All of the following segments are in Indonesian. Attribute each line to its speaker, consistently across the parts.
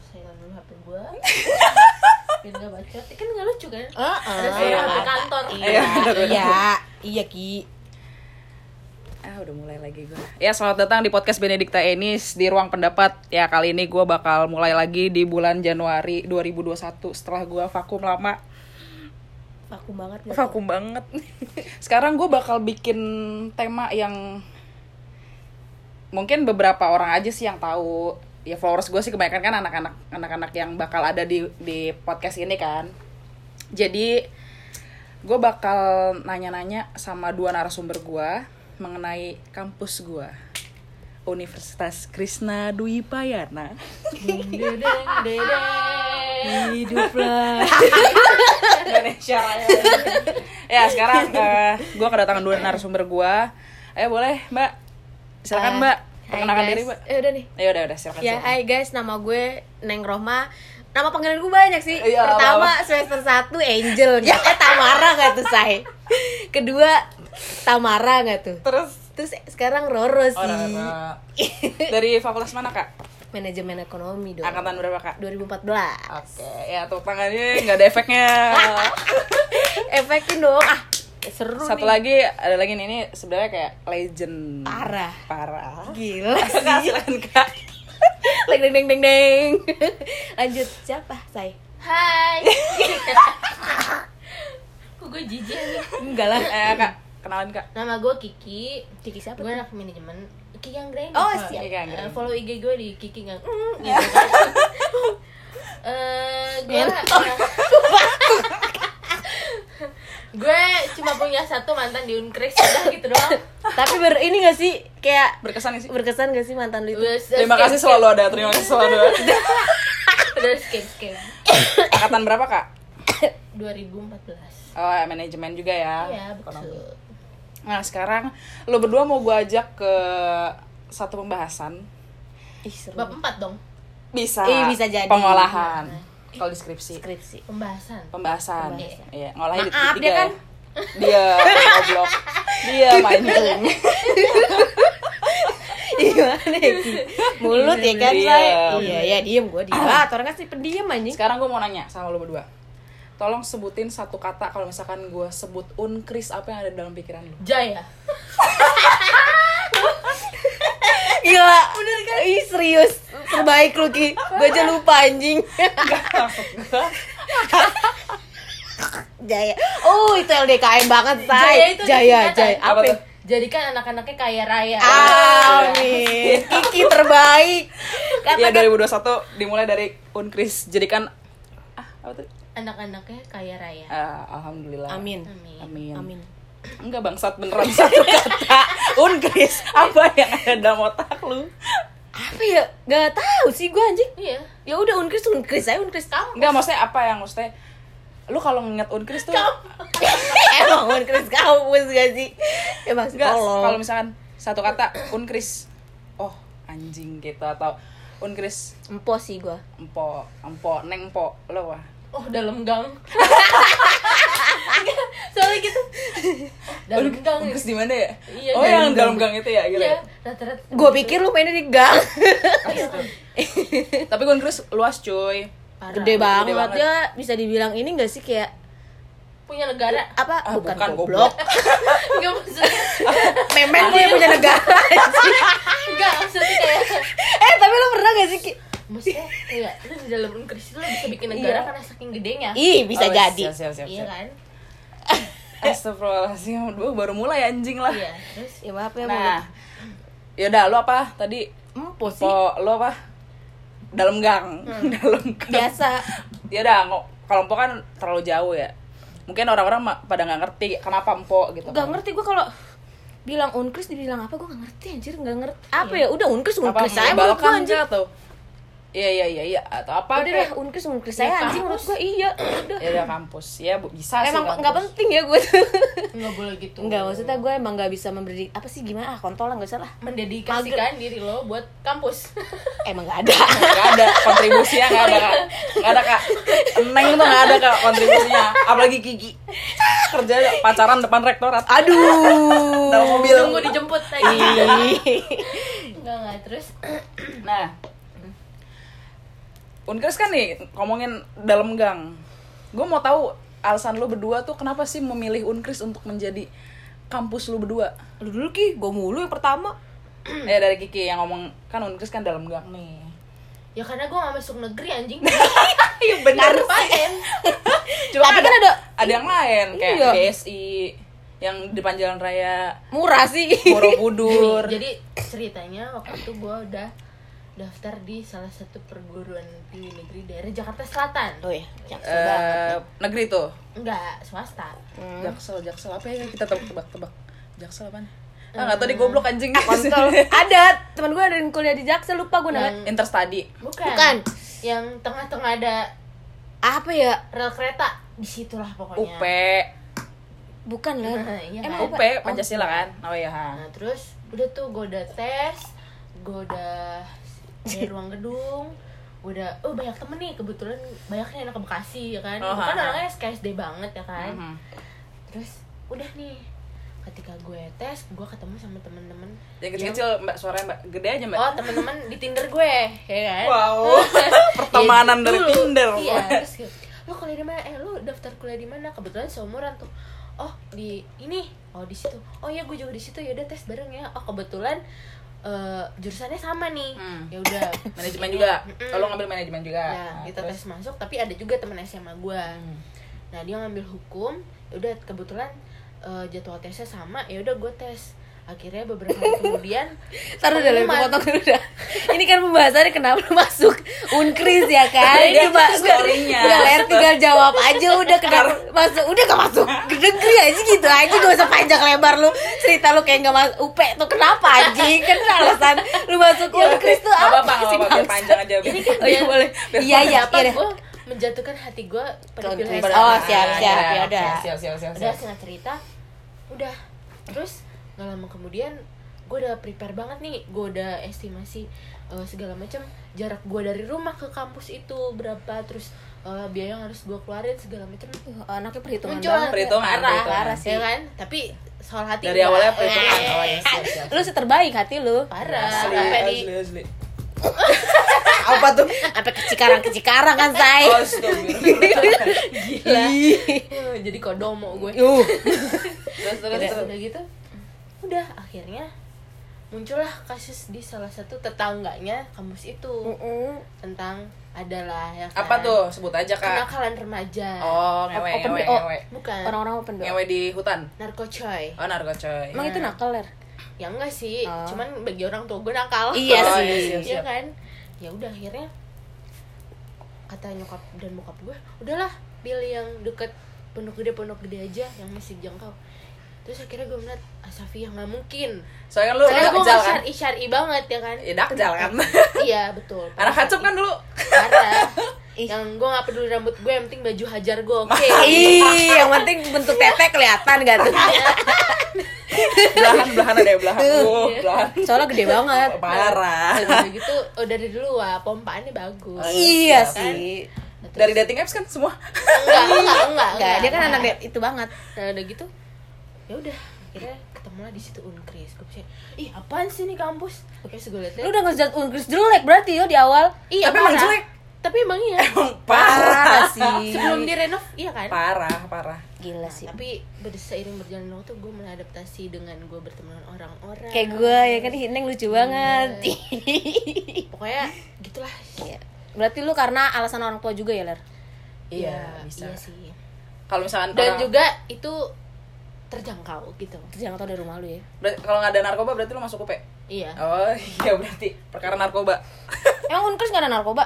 Speaker 1: saingan dulu HP gua biar nggak bacot kan nggak lucu kan
Speaker 2: Ah,
Speaker 1: ada
Speaker 3: Heeh.
Speaker 1: saingan
Speaker 4: Iya.
Speaker 1: HP kantor Eh,
Speaker 4: Iya.
Speaker 3: Iya, iya Ki.
Speaker 4: Ah udah mulai lagi gue Ya selamat datang di podcast Benedikta Enis Di Ruang Pendapat Ya kali ini gue bakal mulai lagi di bulan Januari 2021 Setelah gue vakum lama
Speaker 1: vakum banget nggak
Speaker 4: Vakum banget Sekarang gue bakal bikin tema yang Mungkin beberapa orang aja sih yang tahu Ya followers gue sih kebanyakan kan anak-anak Anak-anak yang bakal ada di, di podcast ini kan Jadi gue bakal nanya-nanya sama dua narasumber gue mengenai kampus gue Universitas Krishna Dwi Payana
Speaker 1: dedeng dedeng
Speaker 3: Hiduplah.
Speaker 4: Indonesia Raya ya sekarang gue kedatangan dua narasumber gue ayo boleh mbak
Speaker 2: Eh,
Speaker 4: silakan mbak
Speaker 2: hai,
Speaker 4: perkenalkan
Speaker 2: guys.
Speaker 4: diri mbak
Speaker 1: eh udah nih
Speaker 4: ya udah udah silakan
Speaker 2: Ya,
Speaker 4: silakan.
Speaker 2: hai guys, nama gue Neng Rohma. Nama panggilan gue banyak sih.
Speaker 4: Iya,
Speaker 2: Pertama semester 1 Angel gitu. Eh Tamara nggak tuh, Say? Kedua Tamara nggak tuh?
Speaker 4: terus
Speaker 2: Terus sekarang Roro sih.
Speaker 4: orang dari fakultas mana kak
Speaker 2: Manajemen ekonomi dong.
Speaker 4: angkatan berapa kak
Speaker 2: 2014.
Speaker 4: oke ya tepuk tangannya nggak ada efeknya Eh.
Speaker 2: Efekin dong. Ah, seru
Speaker 4: satu
Speaker 2: nih.
Speaker 4: lagi ada lagi nih ini sebenarnya kayak legend
Speaker 2: Parah.
Speaker 4: parah
Speaker 2: Gila.
Speaker 4: kak silakan kak
Speaker 2: Deng deng deng deng deng. Lanjut siapa, Say?
Speaker 1: hai kok gue jijik aja
Speaker 2: Enggak lah.
Speaker 4: eh kak kenalan kak
Speaker 1: nama gue Kiki
Speaker 2: Kiki siapa?
Speaker 1: gue anak manajemen Kiki Anggreni
Speaker 2: Oh,
Speaker 1: Kak.
Speaker 2: siap.
Speaker 4: Kiki Anggreni.
Speaker 1: Eh, follow IG gue di Kiki Gang mm, gitu kan Eh, gue gue cuma punya satu mantan di Unkris udah gitu doang
Speaker 2: Tapi baru ini gak sih kayak
Speaker 4: berkesan sih
Speaker 2: berkesan gak sih mantan lu itu?
Speaker 1: Udah, udah
Speaker 4: terima
Speaker 1: skip,
Speaker 4: kasih selalu ada terima kasih selalu ada
Speaker 1: skip. udah skip skip
Speaker 4: angkatan berapa kak
Speaker 1: 2014
Speaker 4: Oh, manajemen juga
Speaker 2: Ah,
Speaker 4: ya.
Speaker 1: iya betul
Speaker 4: Nah, sekarang lo berdua mau gue ajak ke satu pembahasan.
Speaker 2: Ih, seru.
Speaker 1: bab 4 dong
Speaker 4: Bisa.
Speaker 2: Ih, bisa jadi. Nah.
Speaker 4: Pengolahan. Kalau deskripsi.
Speaker 2: Skripsi.
Speaker 1: pembahasan
Speaker 4: Pembahasan.
Speaker 1: Pembahasan.
Speaker 4: Iya, ngolahin di
Speaker 2: Maaf,
Speaker 4: tiga
Speaker 2: dia
Speaker 4: ya.
Speaker 2: kan- Gitu.
Speaker 4: Dia goblok. Dia mancing.
Speaker 2: Gimana ya Ki? Mulut ya kan
Speaker 4: Diem.
Speaker 2: say Iya ya diem gue diem Ah orang kan sih pendiam anjing
Speaker 4: Sekarang gue mau nanya sama lo berdua. Tolong sebutin satu kata kalau misalkan gue sebut unkris apa yang ada dalam pikiran lo.
Speaker 1: Jaya
Speaker 2: Gila Bener kan Ih serius Terbaik lu Ki Gue aja lupa anjing Jaya Oh itu LDKM banget say
Speaker 1: Jaya itu
Speaker 2: Jaya
Speaker 1: ada
Speaker 2: Jaya
Speaker 1: singkatan.
Speaker 2: Apa Ah.
Speaker 4: Apa
Speaker 2: ya?
Speaker 4: tuh?
Speaker 1: jadikan anak-anaknya kaya raya
Speaker 2: Amin Kiki terbaik
Speaker 4: Iya,
Speaker 2: Kata
Speaker 4: 2021 dimulai dari unkris. Jadikan ah, apa tuh?
Speaker 1: anak-anaknya kaya raya
Speaker 4: Ah, alhamdulillah.
Speaker 2: Amin
Speaker 1: amin
Speaker 4: Amin.
Speaker 2: Amin
Speaker 4: Enggak bangsat beneran satu kata. Unkris, apa yang ada dalam otak lu?
Speaker 2: Apa ya Gak tahu sih gue anjing
Speaker 1: iya
Speaker 2: Ya udah unkris unkris aja unkris kamu
Speaker 4: Enggak maksudnya apa yang maksudnya lu kalau nginget Unkris tuh
Speaker 2: Emang unkris kampus gak sih Emang
Speaker 4: enggak
Speaker 2: sekolah
Speaker 4: kalau misalkan satu kata Unkris. Oh, anjing gitu atau Unkris
Speaker 2: Empo sih gue
Speaker 4: empo, empo, neng po, lo wah.
Speaker 1: Oh, dalam gang. Enggak, Soalnya gitu. Oh, dalam gang.
Speaker 4: Unkris di mana ya?
Speaker 1: Iya,
Speaker 4: oh,
Speaker 1: dalam
Speaker 4: yang
Speaker 1: gang.
Speaker 4: dalam gang itu ya gitu.
Speaker 1: Iya,
Speaker 4: ya?
Speaker 1: rata-rata.
Speaker 2: Gue pikir lu mainnya di gang
Speaker 4: Tapi Unkris luas cuy.
Speaker 1: Parah.
Speaker 2: Gede banget.
Speaker 4: banget.
Speaker 2: Ya bisa dibilang ini gak sih kayak
Speaker 1: punya negara.
Speaker 2: apa
Speaker 4: Ah,
Speaker 2: bukan,
Speaker 4: bukan,
Speaker 2: goblok
Speaker 1: Enggak maksudnya.
Speaker 2: memen gue punya negara
Speaker 1: Enggak maksudnya kayak
Speaker 2: eh tapi lu pernah gak sih Ki?
Speaker 1: maksudnya kayak lu di dalam Inggris itu lu bisa bikin negara
Speaker 4: Iya.
Speaker 1: karena saking gedenya.
Speaker 2: ih bisa
Speaker 4: Oh,
Speaker 2: jadi
Speaker 4: Siap, siap, siap,
Speaker 1: Iya
Speaker 4: siap.
Speaker 1: kan?
Speaker 4: Astagfirullahaladzim, gua baru mulai anjing lah.
Speaker 1: Iya, terus
Speaker 2: ya maaf ya
Speaker 4: Nah, yaudah lu apa tadi?
Speaker 2: empo sih
Speaker 4: Po, lo apa? Dalam gang,
Speaker 1: Hmm.
Speaker 4: dalam gang.
Speaker 2: biasa
Speaker 4: Ya udah, ngo- kalau empo kan terlalu jauh ya. Mungkin orang-orang ma- pada nggak ngerti kenapa empo gitu.
Speaker 2: gak
Speaker 4: kan.
Speaker 2: ngerti gue kalau bilang unkris dibilang apa gue gak ngerti anjir gak ngerti apa ya udah unkris
Speaker 4: Apa
Speaker 2: unkris saya menurut gue
Speaker 4: menyebalkan
Speaker 2: anjir
Speaker 4: nggak tuh? Iya iya iya iya atau apa?
Speaker 2: udah
Speaker 4: kayak-
Speaker 2: dah unkris unkris saya anjing menurut gue iya udah
Speaker 4: Ya udah kampus ya bu- bisa sih.
Speaker 2: emang
Speaker 4: kampus.
Speaker 2: nggak penting ya gue tuh
Speaker 1: enggak boleh gitu.
Speaker 2: nggak maksudnya gue emang nggak bisa memberi apa sih gimana ah kontol lah nggak usah lah
Speaker 1: mendedikasikan diri lo buat kampus.
Speaker 2: emang nggak ada
Speaker 4: Nggak ada kontribusinya nggak ada kak. Nggak ada kak. Neng tuh nggak ada kak kontribusinya. Apalagi gigi. Kerja pacaran depan rektorat.
Speaker 2: aduh
Speaker 4: Dalam mobil.
Speaker 1: Tunggu dijemput lagi.
Speaker 2: Iya.
Speaker 1: Enggak enggak terus
Speaker 4: Nah, Unkris Nah, kan nih ngomongin dalam gang. Gue mau tahu alasan lu berdua tuh kenapa sih memilih Unkris untuk menjadi kampus lu berdua?
Speaker 2: Lu dulu Ki, gue mulu yang pertama
Speaker 4: ya dari Kiki yang ngomong kan Unkris kan dalam gang nih.
Speaker 1: Ya karena gue gak masuk negeri anjing
Speaker 2: Iya benar
Speaker 1: Ngapain?
Speaker 4: Kan? Cuma
Speaker 2: Tapi kan ada-
Speaker 4: ada yang lain kayak
Speaker 2: Iya.
Speaker 4: BSI yang depan jalan raya
Speaker 2: Murah sih
Speaker 4: Borobudur.
Speaker 2: Iya,
Speaker 1: Jadi ceritanya waktu itu gue udah daftar di salah satu perguruan tinggi negeri daerah Jakarta Selatan
Speaker 2: Oh iya, jaksel banget
Speaker 4: eh negeri tuh.
Speaker 1: Enggak, swasta
Speaker 2: Hmm.
Speaker 4: Jaksel, Jaksel apa ya kita tebak-tebak. Jaksel apa? Ah, nggak tahu di goblok anjing.
Speaker 2: Eh. Kontol Eh. Ada, teman gue ada yang kuliah di Jaksel, lupa gue namanya
Speaker 1: Yang-
Speaker 4: Interstudy.
Speaker 1: Bukan
Speaker 2: Bukan.
Speaker 1: Yang tengah-tengah ada
Speaker 4: Hmm.
Speaker 2: Apa ya?
Speaker 1: rel kereta Disitulah pokoknya
Speaker 4: UP,
Speaker 2: Bukan lah
Speaker 1: Nah, iya,
Speaker 2: Emang
Speaker 1: Pak.
Speaker 4: UP Pancasila kan? Oh iya. ha.
Speaker 1: Nah terus udah tuh gue udah tes, gue udah di ruang gedung, gue udah oh banyak temen nih kebetulan banyaknya anak ke Bekasi ya kan,
Speaker 4: Oh,
Speaker 1: Gua kan
Speaker 4: ha, ha.
Speaker 1: orangnya SKSD banget ya kan,
Speaker 4: Mhm.
Speaker 1: terus udah nih ketika gue tes gue ketemu sama temen-temen
Speaker 4: Yang kecil-kecil mbak suaranya mbak gede aja mbak.
Speaker 1: oh temen-temen di Tinder gue ya kan
Speaker 4: Wow. Pertemanan
Speaker 1: Ya,
Speaker 4: dari
Speaker 1: dulu.
Speaker 4: Tinder.
Speaker 1: iya terus kayak, lu kuliah di mana eh lu daftar kuliah di mana kebetulan seumuran tuh oh di ini oh di situ oh ya gue juga di situ ya udah tes bareng ya oh kebetulan eh, jurusannya sama nih
Speaker 4: Hmm.
Speaker 1: ya udah
Speaker 4: Manajemen
Speaker 1: Ini-
Speaker 4: juga.
Speaker 1: Mm-mm.
Speaker 4: Oh, lo ngambil manajemen juga.
Speaker 1: Nah, kita
Speaker 4: terus.
Speaker 1: tes masuk tapi ada juga temen SMA gue
Speaker 4: Hmm.
Speaker 1: nah dia ngambil hukum ya udah kebetulan eh, jadwal tesnya sama ya udah gue tes akhirnya beberapa hari kemudian
Speaker 2: Taruh dalam
Speaker 1: pengumuman.
Speaker 2: potong dulu dah. Ini kan pembahasannya kenapa lu masuk Unkris ya kan?
Speaker 4: Dia
Speaker 2: Coba gua-
Speaker 4: itu Iya, story-nya.
Speaker 2: gua lihat tinggal jawab aja udah kenapa masuk. Udah gak masuk. Negeri aja gitu aja gak usah panjang lebar lu. Cerita lu kayak gak masuk UP tuh kenapa anjing? Kan alasan lu masuk Unkris tuh
Speaker 4: Iya, Nggak
Speaker 2: apa,
Speaker 4: apa-apa, nggak
Speaker 2: sih?
Speaker 4: apa-apa, biar
Speaker 2: bangsa?
Speaker 4: panjang aja.
Speaker 1: ini kan
Speaker 2: Oh iya boleh.
Speaker 4: Biar
Speaker 2: Iya iya,
Speaker 1: kenapa
Speaker 2: iya. deh.
Speaker 1: gue menjatuhkan hati gue pada
Speaker 2: Ke
Speaker 1: pilihan
Speaker 2: Unkris.
Speaker 1: SMA.
Speaker 2: Oh, siap, siap, ya udah.
Speaker 4: Iya, Siap, siap, siap,
Speaker 1: udah
Speaker 4: siap.
Speaker 1: singkat cerita udah terus nggak lama kemudian gue udah prepare banget nih gue udah estimasi eh, segala macam jarak gue dari rumah ke kampus itu berapa terus eh, biaya yang harus gue keluarin segala macam
Speaker 2: Tuh, Anaknya perhitungan
Speaker 1: muncul
Speaker 2: banget. ya.
Speaker 4: perhitungan,
Speaker 1: arah
Speaker 4: perhitungan.
Speaker 1: arah
Speaker 2: Iya
Speaker 1: sih ya kan tapi soal hati
Speaker 4: Dari
Speaker 1: nggak.
Speaker 4: awalnya perhitungan.
Speaker 1: Eh,
Speaker 4: Oh, iya, siap, siap.
Speaker 2: Lu seterbaik hati lu.
Speaker 1: parah
Speaker 4: Nah, Asli,
Speaker 1: sampai di
Speaker 4: asli, asli.
Speaker 2: Apa tuh? Ah, Sampai ke Cikarang-Cikarang kan, Say.
Speaker 4: Oh, Astagfirullah. iya.
Speaker 1: gila Eh, jadi kodomo gue
Speaker 2: Uh.
Speaker 4: Terus, terus,
Speaker 1: udah,
Speaker 4: terus.
Speaker 1: udah gitu udah akhirnya muncullah kasus di salah satu tetangganya kampus itu
Speaker 2: Hmm.
Speaker 1: tentang adalah ya kan?
Speaker 4: Apa tuh? Sebut aja, Kak.
Speaker 1: kenakalan remaja
Speaker 4: Oh, ngewe,
Speaker 2: Open
Speaker 4: ngewe,
Speaker 2: BO.
Speaker 4: ngewe.
Speaker 1: bukan
Speaker 2: Orang-orang open door.
Speaker 4: Ngewe di hutan.
Speaker 1: narkocoy
Speaker 4: Oh, narko coy.
Speaker 2: Emang itu nakal, Er? Ler?
Speaker 1: ya enggak sih
Speaker 2: Oh.
Speaker 1: cuman bagi orang tua gue nakal
Speaker 2: Iya
Speaker 4: Oh,
Speaker 2: sih.
Speaker 4: Ah. iya,
Speaker 1: Iya
Speaker 4: siap, siap.
Speaker 1: kan ya udah akhirnya kata nyokap dan bokap gue udahlah pilih yang deket pondok gede pondok gede aja yang masih jangkau terus akhirnya gue melihat Asafi yang nggak mungkin
Speaker 4: Soalnya lu
Speaker 1: karena gue
Speaker 4: nakjal
Speaker 1: nggak
Speaker 4: kan?
Speaker 1: syari syari banget ya kan
Speaker 4: Ya, nakjal kan?
Speaker 1: iya betul
Speaker 4: Anak hacep kan dulu.
Speaker 1: parah yang gue nggak peduli rambut gue yang penting baju hajar gue oke
Speaker 4: Iya.
Speaker 2: Ih, yang penting bentuk tete kelihatan gak tuh?
Speaker 1: Ya,
Speaker 4: Belahan, belahan ada yang belahan.
Speaker 2: Iya.
Speaker 4: Oh, belahan.
Speaker 2: Soalnya gede banget.
Speaker 4: Parah.
Speaker 1: Udah gitu oh dari dulu wah pompaannya bagus Ya
Speaker 4: Oh,
Speaker 2: Iya
Speaker 4: Siap.
Speaker 2: sih.
Speaker 1: Nah,
Speaker 4: Dari
Speaker 1: terus-
Speaker 4: dating apps kan semua.
Speaker 1: enggak enggak enggak
Speaker 2: Enggak, dia kan anak
Speaker 1: enggak.
Speaker 2: det- itu banget.
Speaker 1: nah udah gitu ya udah akhirnya ketemulah di situ unkris gue pikir ih apaan sih nih kampus oke gue liat
Speaker 2: Lu udah ngejat Unkris jelek berarti yo di awal.
Speaker 1: iya
Speaker 4: Tapi emang
Speaker 1: parah.
Speaker 4: jelek.
Speaker 1: tapi emang iya
Speaker 4: Parah.
Speaker 2: sih.
Speaker 1: sebelum direnov iya kan
Speaker 4: Parah, parah.
Speaker 2: Gila sih.
Speaker 1: tapi ber- seiring berjalan waktu gue mengadaptasi dengan gue berteman dengan orang-orang
Speaker 2: Kayak gue ya kan Hineng lucu banget.
Speaker 1: Iya. pokoknya gitulah
Speaker 2: Iya. berarti lu karena alasan orang tua juga ya, Ler?
Speaker 4: Iya,
Speaker 1: Ya,
Speaker 4: bisa.
Speaker 1: iya sih
Speaker 4: Kalau misalkan
Speaker 1: dan
Speaker 4: orang-
Speaker 1: juga itu terjangkau gitu
Speaker 2: Terus jangan tau dari rumah lu ya.
Speaker 4: berarti- kalau nggak ada narkoba berarti lu masuk UP.
Speaker 1: iya
Speaker 4: Oh, iya berarti perkara narkoba.
Speaker 2: Emang Unkris gak ada narkoba?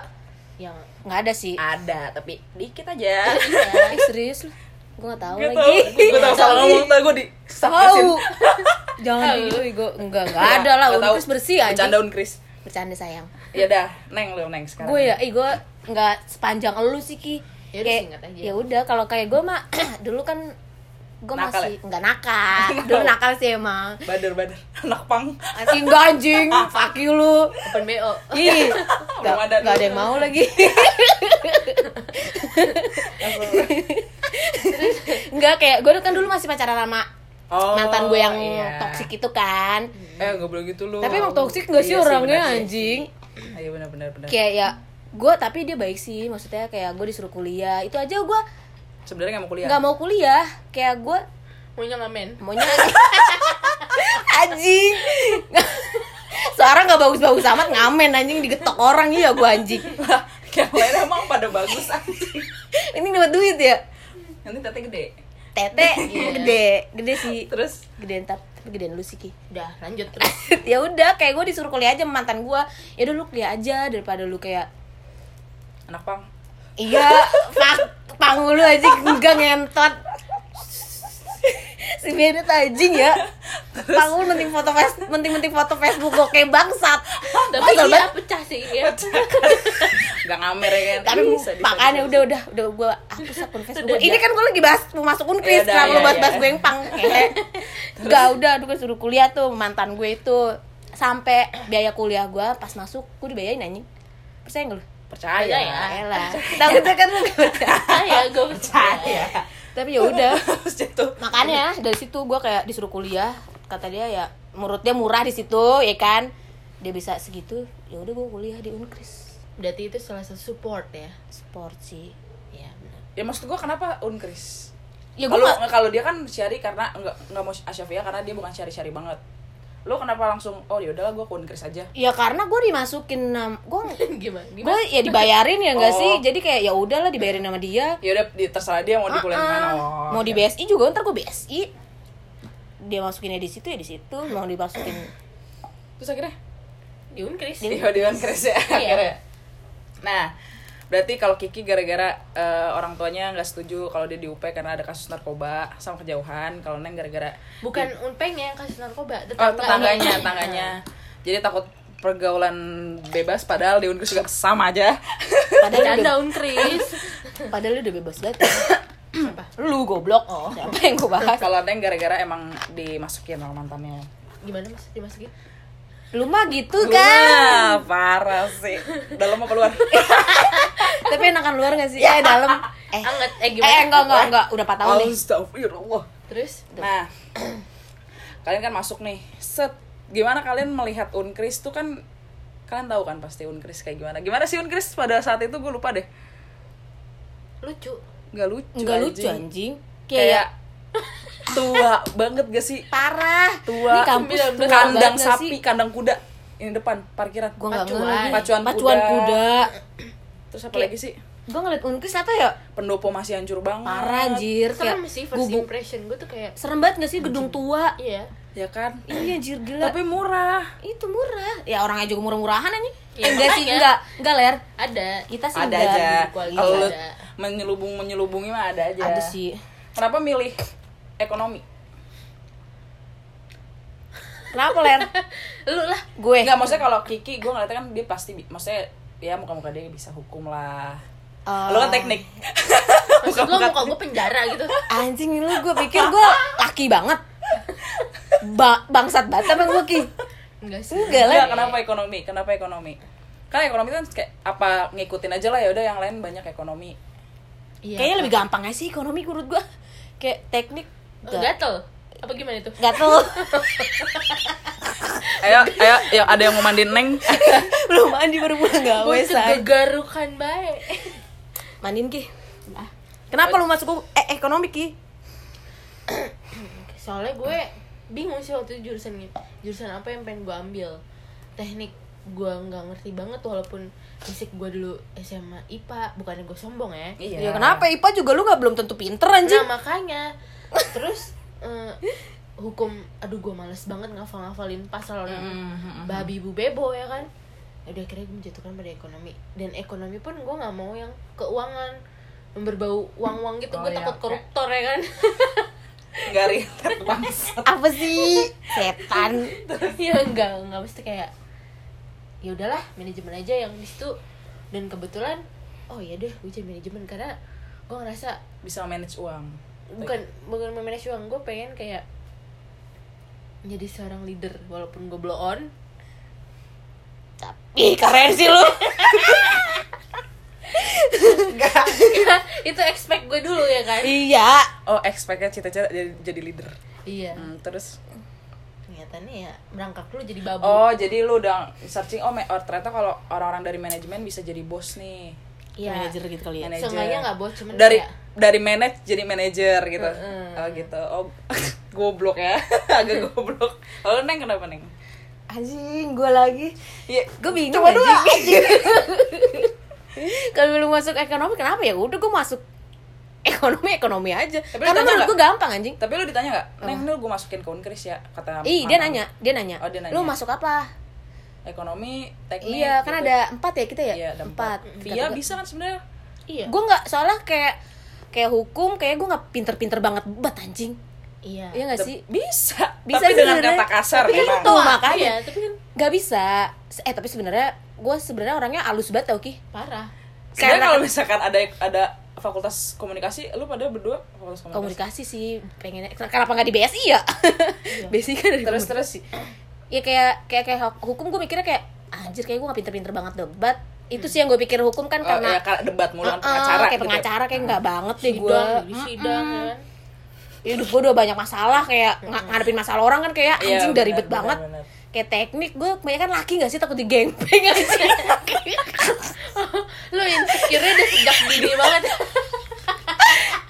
Speaker 1: yang
Speaker 2: Gak ada sih.
Speaker 4: Ada, tapi dikit aja.
Speaker 2: Eh, serius lu? Gue gak tau
Speaker 4: Gue tau,
Speaker 2: lagi.
Speaker 4: gue tau salah ngomong tau gue di
Speaker 2: Tahu. Jangan gitu, Igo. Enggak, enggak ada lah.
Speaker 4: Nggak tahu.
Speaker 2: Unkris bersih aja.
Speaker 4: Bercanda Unkris.
Speaker 2: Bercanda sayang.
Speaker 4: Ya dah, neng lu neng sekarang.
Speaker 2: gue ya ih gue nggak sepanjang elu sih ki
Speaker 1: Yaudah,
Speaker 2: Kayak-
Speaker 1: singkat aja.
Speaker 2: ya udah kalau kayak gue mah dulu kan gue
Speaker 4: Nakal ya?
Speaker 2: masih nggak nakal dulu nakal sih emang
Speaker 4: Badar badar, anak pang.
Speaker 2: masih nggak anjing fuck you lu
Speaker 1: open bo
Speaker 2: ih nggak
Speaker 4: Belum ada
Speaker 2: nggak ada
Speaker 4: dulu.
Speaker 2: yang mau lagi nggak kayak gue kan dulu masih pacaran sama
Speaker 4: Oh,
Speaker 2: mantan gue yang
Speaker 4: iya.
Speaker 2: toksik itu kan
Speaker 4: Eh, nggak boleh gitu lu.
Speaker 2: tapi emang toksik nggak sih
Speaker 4: Iya
Speaker 2: orangnya
Speaker 4: benar sih.
Speaker 2: anjing
Speaker 4: Iya benar benar benar.
Speaker 2: kayak ya gue tapi dia baik sih maksudnya kayak gue disuruh kuliah itu aja gue
Speaker 4: Sebenarnya nggak mau kuliah.
Speaker 2: nggak mau kuliah kayak gue
Speaker 1: maunya ngamen
Speaker 2: maunya anjing seorang nggak bagus-bagus amat ngamen anjing digetok orang iya gue anjing
Speaker 4: Yang lain emang pada bagus anjing.
Speaker 2: ini dapat duit ya
Speaker 4: Nanti tete gede.
Speaker 2: tete
Speaker 4: Iya.
Speaker 2: gede gede sih
Speaker 4: Terus
Speaker 2: gedean tapi tapi gedean lu sih ki
Speaker 1: udah lanjut terus
Speaker 2: ya udah kayak gue disuruh kuliah aja sama mantan gue ya udah lu kuliah aja daripada lu kayak
Speaker 4: anak pang.
Speaker 2: iya pak pangulu aja enggak ngentot si Bennett anjing ya pangulu penting foto face penting-penting foto Facebook gue kayak bangsat
Speaker 1: Ah, tapi
Speaker 2: Kesel
Speaker 1: dia
Speaker 2: banget.
Speaker 1: pecah sih ya
Speaker 4: Gak ngamer ya kan.
Speaker 2: tapi
Speaker 4: Bisa, bisa,
Speaker 2: makanya
Speaker 4: bisa.
Speaker 2: udah udah udah gue hapus akun Facebook
Speaker 1: Udah,
Speaker 2: gua. ini
Speaker 1: udah.
Speaker 2: kan gue lagi bahas mau masuk unkris
Speaker 4: Iya, udah,
Speaker 2: kenapa lu
Speaker 4: iya,
Speaker 2: bahas bahas
Speaker 4: iya.
Speaker 2: gue yang pang Hehe. enggak udah aduh gue suruh kuliah tuh mantan gue itu sampai biaya kuliah gue pas masuk gue dibayain anjing percaya nggak lu
Speaker 4: Iya, percaya.
Speaker 1: Percaya.
Speaker 2: lah takutnya kan lu nggak percaya.
Speaker 1: percaya gue percaya
Speaker 2: tapi ya udah
Speaker 4: Terus itu
Speaker 2: makanya dari situ gue kayak disuruh kuliah kata dia ya menurut dia murah di situ ya kan dia bisa segitu ya udah gue kuliah di Unkris
Speaker 1: berarti itu salah satu support ya
Speaker 2: sport sih
Speaker 1: ya benar
Speaker 4: ya maksud gua kenapa unkris
Speaker 2: ya gue
Speaker 4: kalau kalau dia kan syari karena nggak nggak mau asyafia karena dia bukan syari syari banget lo kenapa langsung oh ya udahlah gue ke unkris aja
Speaker 2: ya karena gue dimasukin nam gue
Speaker 1: gimana
Speaker 2: gue
Speaker 1: gimana
Speaker 2: ya dibayarin ya enggak
Speaker 4: Oh.
Speaker 2: sih jadi kayak ya udahlah dibayarin sama dia
Speaker 4: ya udah di- terserah dia mau dikuliahin
Speaker 2: Ah,
Speaker 4: mana
Speaker 2: ah.
Speaker 4: Oh,
Speaker 2: mau di
Speaker 4: oke.
Speaker 2: BSI juga ntar gue BSI dia masukinnya di situ ya di situ mau dimasukin
Speaker 4: terus akhirnya
Speaker 1: di unkris
Speaker 4: iya di unkris ya akhirnya nah berarti kalau Kiki gara-gara eh, orang tuanya nggak setuju kalau dia di UP karena ada kasus narkoba sama kejauhan kalau Neng gara-gara
Speaker 1: bukan unpeng yang kasus narkoba
Speaker 4: oh, tetangganya tetangganya jadi takut pergaulan bebas padahal di unkris juga sama aja
Speaker 2: padahal udah,
Speaker 1: Bercanda unkris
Speaker 2: padahal udah bebas banget
Speaker 1: Siapa?
Speaker 2: lu goblok siapa yang gue bahas
Speaker 4: kalau Neng gara-gara emang dimasukin sama mantannya
Speaker 1: gimana mas dimasukin
Speaker 2: lu mah gitu kan
Speaker 4: Wah, parah sih dalam apa luar
Speaker 2: tapi enakan luar gak sih ya dalam eh
Speaker 1: Anget, eh, gimana?
Speaker 2: eh enggak enggak enggak udah 4 tahun nih
Speaker 4: Astagfirullah
Speaker 1: terus
Speaker 4: nah kalian kan masuk nih set gimana kalian melihat unkris tuh kan kalian tahu kan pasti unkris kayak gimana gimana sih unkris pada saat itu gue lupa deh
Speaker 1: lucu
Speaker 4: nggak lucu
Speaker 2: enggak lucu
Speaker 4: anjing.
Speaker 2: anjing
Speaker 4: kayak tua banget gak sih
Speaker 2: parah
Speaker 4: tua Iya,
Speaker 2: Ini kampus tua
Speaker 4: kandang
Speaker 2: banget gak
Speaker 4: sapi kandang kuda ini depan parkiran
Speaker 2: gue nggak
Speaker 1: Pacuan.
Speaker 2: ngerti
Speaker 4: Pacuan
Speaker 2: pacuan
Speaker 4: kuda.
Speaker 2: kuda.
Speaker 4: terus apa lagi sih
Speaker 2: gue ngeliat unkris apa ya
Speaker 4: pendopo masih hancur banget
Speaker 2: parah anjir kayak
Speaker 1: serem sih first
Speaker 2: gubuk
Speaker 1: impression gue tuh kayak
Speaker 2: serem banget gak sih gedung tua
Speaker 1: iya
Speaker 4: ya kan
Speaker 2: iya anjir gila
Speaker 4: tapi murah
Speaker 2: itu murah ya orangnya juga murah-murahan anjing
Speaker 1: Iya,
Speaker 2: Eh, enggak sih
Speaker 1: makanya.
Speaker 2: enggak enggak ler
Speaker 1: ada
Speaker 2: kita sih
Speaker 4: ada
Speaker 2: enggak.
Speaker 4: aja
Speaker 1: Kualitas
Speaker 4: kalau lu
Speaker 1: ada.
Speaker 4: menyelubung menyelubungi mah ada aja
Speaker 2: ada sih
Speaker 4: kenapa milih ekonomi
Speaker 2: kenapa ler
Speaker 1: lu lah
Speaker 2: gue
Speaker 4: enggak maksudnya kalau Kiki gue ngeliatnya kan dia pasti bi- maksudnya ya muka-muka dia bisa hukum lah
Speaker 2: Eh,
Speaker 4: lo kan teknik
Speaker 1: maksud lu muka gue penjara gitu
Speaker 2: anjing lu gue pikir gue laki banget ba bangsat banget emang gue ki
Speaker 1: enggak sih
Speaker 2: enggak lah
Speaker 4: Enggak, kenapa ekonomi kenapa ekonomi karena ekonomi kan kayak apa ngikutin aja lah ya udah yang lain banyak ekonomi
Speaker 1: Iya.
Speaker 2: kayaknya lebih gampang aja sih ekonomi menurut gue kayak teknik enggak
Speaker 1: gatel apa gimana itu
Speaker 2: gatel
Speaker 4: ayo ayo ayo ada yang mau mandiin neng
Speaker 2: belum mandi baru pulang gawe
Speaker 1: gue tuh
Speaker 2: say
Speaker 1: kegarukan baik
Speaker 2: mandiin ki Ah. kenapa lu masuk ke- eh, ekonomi ki
Speaker 1: soalnya gue bingung sih waktu itu jurusannya jurusan apa yang pengen gue ambil teknik gue nggak ngerti banget walaupun fisik gue dulu SMA IPA bukannya gue sombong ya
Speaker 2: ya kenapa ipa juga lu nggak belum tentu pinter anjing
Speaker 1: nah makanya terus eh, hukum aduh gue males banget ngafal ngafalin pasal orang babi bu bebo ya kan Ya udah akhirnya gue menjatuhkan pada ekonomi dan ekonomi pun gue nggak mau yang keuangan yang berbau uang uang gitu
Speaker 4: Oh,
Speaker 1: gue
Speaker 4: iya,
Speaker 1: takut
Speaker 4: oke.
Speaker 1: koruptor ya kan
Speaker 4: nggak relate banget
Speaker 2: apa sih setan
Speaker 1: ya enggak enggak mesti kayak ya udahlah manajemen aja yang di situ dan kebetulan oh iya deh gue jadi manajemen karena gue ngerasa
Speaker 4: bisa manage uang
Speaker 1: bukan bukan memanage uang gue pengen kayak jadi seorang leader walaupun gue blow on
Speaker 2: ih keren sih lu
Speaker 1: itu expect gue dulu ya kan
Speaker 2: iya
Speaker 4: oh expect cita-cita jadi, jadi leader
Speaker 1: iya
Speaker 4: Hmm, terus
Speaker 1: kenyataannya ya merangkak lu jadi babu
Speaker 4: Oh, jadi lu udah searching oh, me- oh, ternyata kalau orang-orang dari manajemen bisa jadi bos nih.
Speaker 2: Iya.
Speaker 1: ya
Speaker 3: manajer gitu kali ya
Speaker 4: Manajer.
Speaker 1: Seenggaknya nggak bos, cuman
Speaker 4: dari
Speaker 1: kayak-
Speaker 4: dari manage jadi manajer gitu.
Speaker 1: Heeh.
Speaker 4: Oh, gitu. Oh, goblok ya. Agak goblok. Kalau Neng kenapa, Neng?
Speaker 2: Anjing, gue lagi.
Speaker 4: Iya.
Speaker 2: Gue bingung
Speaker 4: Cuma dua.
Speaker 2: anjing. Kalau belum masuk ekonomi kenapa ya? Udah gue masuk ekonomi ekonomi aja.
Speaker 4: Tapi lu
Speaker 2: Karena
Speaker 4: tanya
Speaker 2: menurut gue
Speaker 4: nggak?
Speaker 2: gampang anjing.
Speaker 4: Tapi lu ditanya nggak? Neng, lu gue masukin ke Unkris ya, kata
Speaker 2: Ih, dia
Speaker 4: Mamang.
Speaker 2: nanya, dia nanya.
Speaker 4: Oh, dia nanya.
Speaker 2: Lu masuk apa?
Speaker 4: Ekonomi, teknik.
Speaker 2: iya,
Speaker 4: gitu.
Speaker 2: kan ada empat ya kita ya?
Speaker 4: Iya, ada empat. Via bisa kan sebenarnya?
Speaker 1: iya
Speaker 2: Gue nggak soalnya kayak kayak hukum kayak gue nggak pinter-pinter banget buat anjing.
Speaker 4: Nah,
Speaker 1: iya
Speaker 2: Iya nggak sih?
Speaker 4: Bisa.
Speaker 2: Bisa
Speaker 4: Tapi
Speaker 2: sih
Speaker 4: dengan
Speaker 2: sebenarnya.
Speaker 4: kata kasar
Speaker 2: Tapi kan
Speaker 4: memang.
Speaker 2: itu
Speaker 1: Wah,
Speaker 2: makanya.
Speaker 1: iya, tapi kan
Speaker 2: Gak bisa. Eh tapi sebenarnya gue sebenarnya orangnya halus banget tau ki.
Speaker 1: parah
Speaker 4: Sebenarnya
Speaker 2: Karena-
Speaker 4: kalau misalkan ada ada fakultas komunikasi, lu pada berdua fakultas komunikasi.
Speaker 2: Komunikasi sih pengennya. Kenapa nggak di BSI ya? BSI kan dari
Speaker 4: Iya. Terus terus sih.
Speaker 2: ya kayak kayak kayak hukum gue mikirnya kayak anjir kayak gue gak pinter-pinter banget debat itu sih yang gue pikir hukum kan
Speaker 4: Oh, ya,
Speaker 2: karena
Speaker 4: ka- debat mulu
Speaker 2: Ah,
Speaker 4: kan pengacara.
Speaker 2: kayak
Speaker 4: gitu ya.
Speaker 2: pengacara kayak nggak banget deh gue
Speaker 1: sidang jadi sidang kan
Speaker 2: hidup gue udah banyak masalah kayak ng- ngadepin masalah orang kan kayak
Speaker 4: Iya,
Speaker 2: anjing udah
Speaker 4: benar,
Speaker 2: ribet
Speaker 4: benar,
Speaker 2: banget
Speaker 4: benar.
Speaker 2: kayak teknik gue kebanyakan laki gak sih takut digengpeng anjing
Speaker 1: lo insecure udah sejak dini banget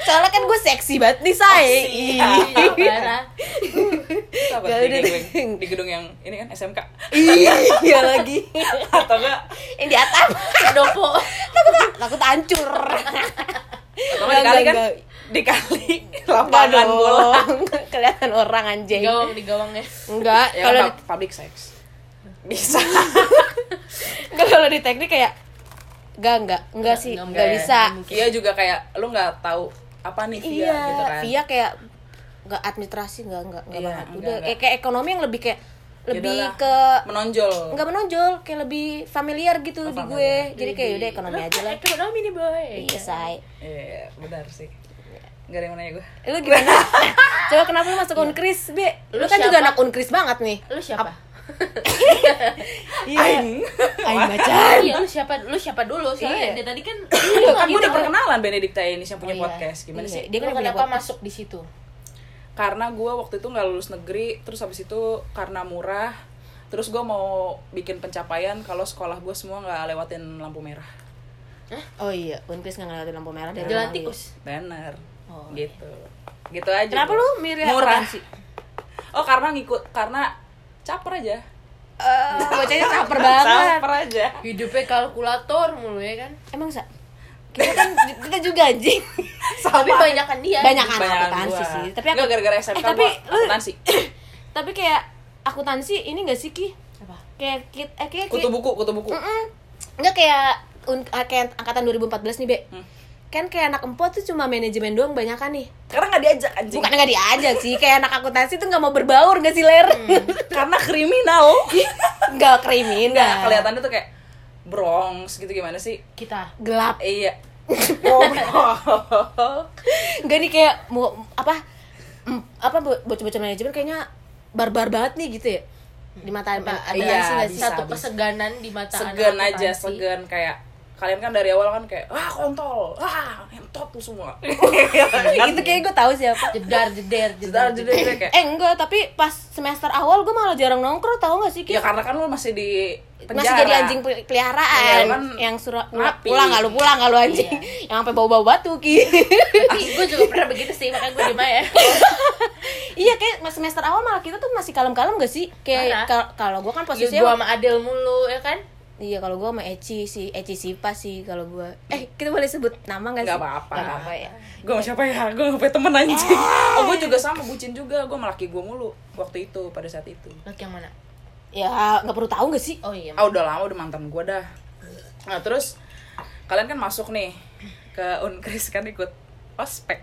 Speaker 2: soalnya kan gue seksi banget nih say
Speaker 4: Iya.
Speaker 1: iya parah
Speaker 4: Itu apa?
Speaker 2: Gak
Speaker 4: Di
Speaker 2: ada
Speaker 4: gedung-
Speaker 2: deh.
Speaker 4: di gedung yang ini kan SMK
Speaker 2: iya lagi
Speaker 4: atau enggak
Speaker 2: yang di atap
Speaker 1: dopo
Speaker 2: takut hancur
Speaker 4: atau enggak dikali kan
Speaker 2: Enggak,
Speaker 4: dikali
Speaker 2: Enggak
Speaker 4: lapangan bola
Speaker 2: dong. kelihatan orang
Speaker 1: di
Speaker 2: anjing
Speaker 1: gawang di gawangnya
Speaker 2: enggak
Speaker 4: ya
Speaker 2: kalau
Speaker 4: kalau
Speaker 2: di-
Speaker 4: public sex bisa
Speaker 2: Enggak kalau di teknik kayak enggak enggak enggak sih
Speaker 1: Enggak,
Speaker 2: enggak
Speaker 1: enggak,
Speaker 2: bisa.
Speaker 4: Iya juga kayak lu nggak tahu apa nih via
Speaker 2: Iya,
Speaker 4: gitu kan
Speaker 2: via kayak enggak administrasi enggak enggak enggak
Speaker 4: Iya, Ya
Speaker 2: banget.
Speaker 4: enggak,
Speaker 2: Udah
Speaker 4: enggak.
Speaker 2: kayak, kayak ekonomi yang lebih kayak lebih
Speaker 4: Yaudahlah,
Speaker 2: ke
Speaker 4: menonjol
Speaker 2: enggak menonjol, kayak lebih familiar gitu
Speaker 4: Oh,
Speaker 2: di
Speaker 4: familiar.
Speaker 2: gue. Jadi kayak udah ekonomi aja lah.
Speaker 1: Eh, ekonomi nih boy
Speaker 2: Iya, say.
Speaker 4: iya benar sih Gak ada yang mau nanya gue
Speaker 2: Lu gimana? Coba kenapa lu masuk Unkris, Be? Lu
Speaker 1: Lu
Speaker 2: kan
Speaker 1: siapa?
Speaker 2: juga anak Unkris banget nih.
Speaker 1: lu siapa
Speaker 2: Iya.
Speaker 4: Aing
Speaker 2: Aing macan.
Speaker 1: iya lu siapa lu siapa dulu soalnya
Speaker 4: Iya.
Speaker 1: dia tadi kan
Speaker 4: Iya,
Speaker 1: lu
Speaker 4: kan
Speaker 1: kan
Speaker 4: gue udah
Speaker 1: gitu.
Speaker 4: perkenalan Benedikta Yenis yang punya
Speaker 1: Oh, iya.
Speaker 4: podcast Gimana
Speaker 2: Iya,
Speaker 4: sih?
Speaker 2: Dia kan
Speaker 1: Lu
Speaker 2: punya
Speaker 1: kenapa
Speaker 2: podcast.
Speaker 1: masuk di situ
Speaker 4: Karena gue waktu itu nggak lulus negeri Terus habis itu karena murah Terus gue mau bikin pencapaian Kalau sekolah gue semua nggak lewatin lampu merah
Speaker 2: Oh iya, Unkris enggak ngeliatin lampu merah dari
Speaker 1: jalan
Speaker 2: awal, iya.
Speaker 1: tikus
Speaker 4: Banner
Speaker 1: Oh,
Speaker 4: Gitu Gitu aja
Speaker 2: Kenapa
Speaker 4: gua.
Speaker 2: lu milih
Speaker 4: Murah
Speaker 2: apaan sih?
Speaker 4: Oh karena ngikut Karena caper aja
Speaker 2: Eh, bocahnya caper banget.
Speaker 4: Caper aja
Speaker 1: hidupnya kalkulator mulu ya kan
Speaker 2: Emang sa kita kan kita juga anjing
Speaker 1: tapi banyak kan dia
Speaker 2: banyak kan
Speaker 4: Kebanyakan
Speaker 2: akuntansi
Speaker 4: gua.
Speaker 2: sih tapi
Speaker 4: Nggak, gara-gara SMK
Speaker 2: eh, tapi
Speaker 4: gua
Speaker 2: lu
Speaker 4: akuntansi.
Speaker 2: tapi kayak akuntansi ini gak sih ki
Speaker 1: Apa?
Speaker 2: kayak kit eh kayak
Speaker 4: Kutu buku, kutu buku
Speaker 2: nggak kayak un- ah, kayak angkatan 2014 nih be
Speaker 4: Hmm.
Speaker 2: kan kayak anak empo tuh cuma manajemen doang banyak kan nih
Speaker 4: Karena nggak diajak anjing
Speaker 2: bukan nggak diajak sih kayak anak akuntansi tuh nggak mau berbaur nggak sih ler
Speaker 4: Hmm. Karena kriminal
Speaker 2: Iya. nggak kriminal
Speaker 4: Nggak, kelihatannya tuh kayak Bronx gitu gimana sih
Speaker 1: kita
Speaker 2: gelap
Speaker 4: Iya.
Speaker 2: Oh,
Speaker 4: Goblok.
Speaker 2: Enggak nih kayak mau apa mm, apa bo- bocah-bocah manajemen kayaknya barbar banget nih gitu ya di mata
Speaker 1: Apa,
Speaker 2: ada
Speaker 4: iya,
Speaker 2: sih nggak sih?
Speaker 4: bisa,
Speaker 1: satu
Speaker 4: bisa.
Speaker 1: keseganan di mata
Speaker 4: segan
Speaker 1: anak
Speaker 4: aja,
Speaker 1: akuntansi.
Speaker 4: segan kayak kalian kan dari awal kan kayak ah kontol, ah entot tuh semua.
Speaker 2: Iya. Kayak gitu kayak gue tahu siapa
Speaker 1: jedar jedar jedar
Speaker 4: Jedar jedar jedar gitu kayak
Speaker 2: eh enggak tapi pas semester awal gue malah jarang nongkrong tahu nggak sih Ki?
Speaker 4: ya karena kan lu masih di penjara.
Speaker 2: masih jadi anjing pel-
Speaker 4: Iya,
Speaker 2: peliharaan
Speaker 4: lu kan
Speaker 2: yang suruh
Speaker 4: rapi. Iya.
Speaker 2: pulang nggak lu pulang nggak lu anjing yang sampai bau bau batu ki
Speaker 1: gue juga pernah begitu sih makanya gue diem aja
Speaker 2: iya kayak mas- semester awal malah kita tuh masih kalem kalem gak sih
Speaker 1: Parah.
Speaker 2: kayak kal- kalau gue
Speaker 4: Ya,
Speaker 2: kan
Speaker 1: posisinya gue
Speaker 2: posisinya
Speaker 1: sama Adel mulu ya kan
Speaker 2: iya kalau gue sama Eci sih Eci Sipa sih kalau gue eh kita boleh sebut nama nggak sih
Speaker 4: Nggak apa-apa.
Speaker 2: Nggak apa-apa ya Ah.
Speaker 4: Gue sama siapa ya? Gue gak punya temen anjing Oh gue juga sama, bucin juga Gue melaki gue mulu Waktu itu, pada saat itu
Speaker 1: laki yang mana
Speaker 2: ya nggak perlu tahu nggak sih
Speaker 1: oh iya
Speaker 4: Ah udah lama udah mantan gue dah Nah terus Kalian kan masuk nih Ke Unkris kan ikut Ospek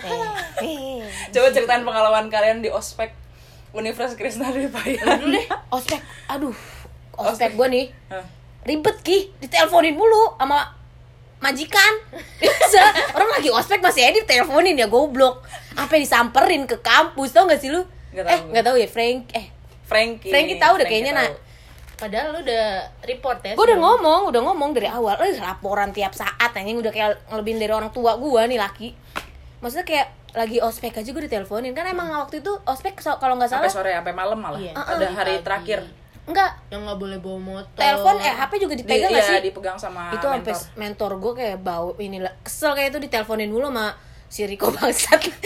Speaker 1: Nah,
Speaker 2: Eh,
Speaker 4: Coba ceritain pengalaman kalian di ospek Universitas Krishna Dwi
Speaker 2: dulu deh ospek aduh ospek
Speaker 4: Ospek.
Speaker 2: gue nih
Speaker 4: Hah?
Speaker 2: ribet ki diteleponin mulu sama majikan Biasa, orang lagi ospek masih edit teleponin ya goblok apa disamperin ke kampus tau gak sih lu
Speaker 4: Nggak tahu
Speaker 2: eh
Speaker 4: gue.
Speaker 2: nggak tahu ya Frank eh
Speaker 4: Frankie.
Speaker 2: Frankie tahu udah kayaknya,
Speaker 4: tahu.
Speaker 2: Nak.
Speaker 1: padahal lu udah report ya
Speaker 4: Eh,
Speaker 2: gue udah
Speaker 1: sebelum-
Speaker 2: ngomong udah ngomong dari awal eh laporan tiap saat anjing udah kayak ngelebihin dari orang tua gue nih laki maksudnya kayak lagi ospek aja gue diteleponin kan emang waktu itu ospek so- kalau nggak
Speaker 4: sampai
Speaker 2: salah Ah,
Speaker 4: sore sampai malam malah
Speaker 1: Iya.
Speaker 4: ada hari
Speaker 1: Pagi.
Speaker 4: terakhir
Speaker 2: nggak
Speaker 1: yang nggak boleh bawa motor
Speaker 2: telepon eh HP juga
Speaker 4: di,
Speaker 2: dipegang nggak
Speaker 4: iya,
Speaker 2: sih
Speaker 4: dipegang sama
Speaker 2: itu sampai
Speaker 4: mentor.
Speaker 2: s- mentor gue kayak bau inilah kesel kayak itu diteleponin dulu sama si Riko bangsat eh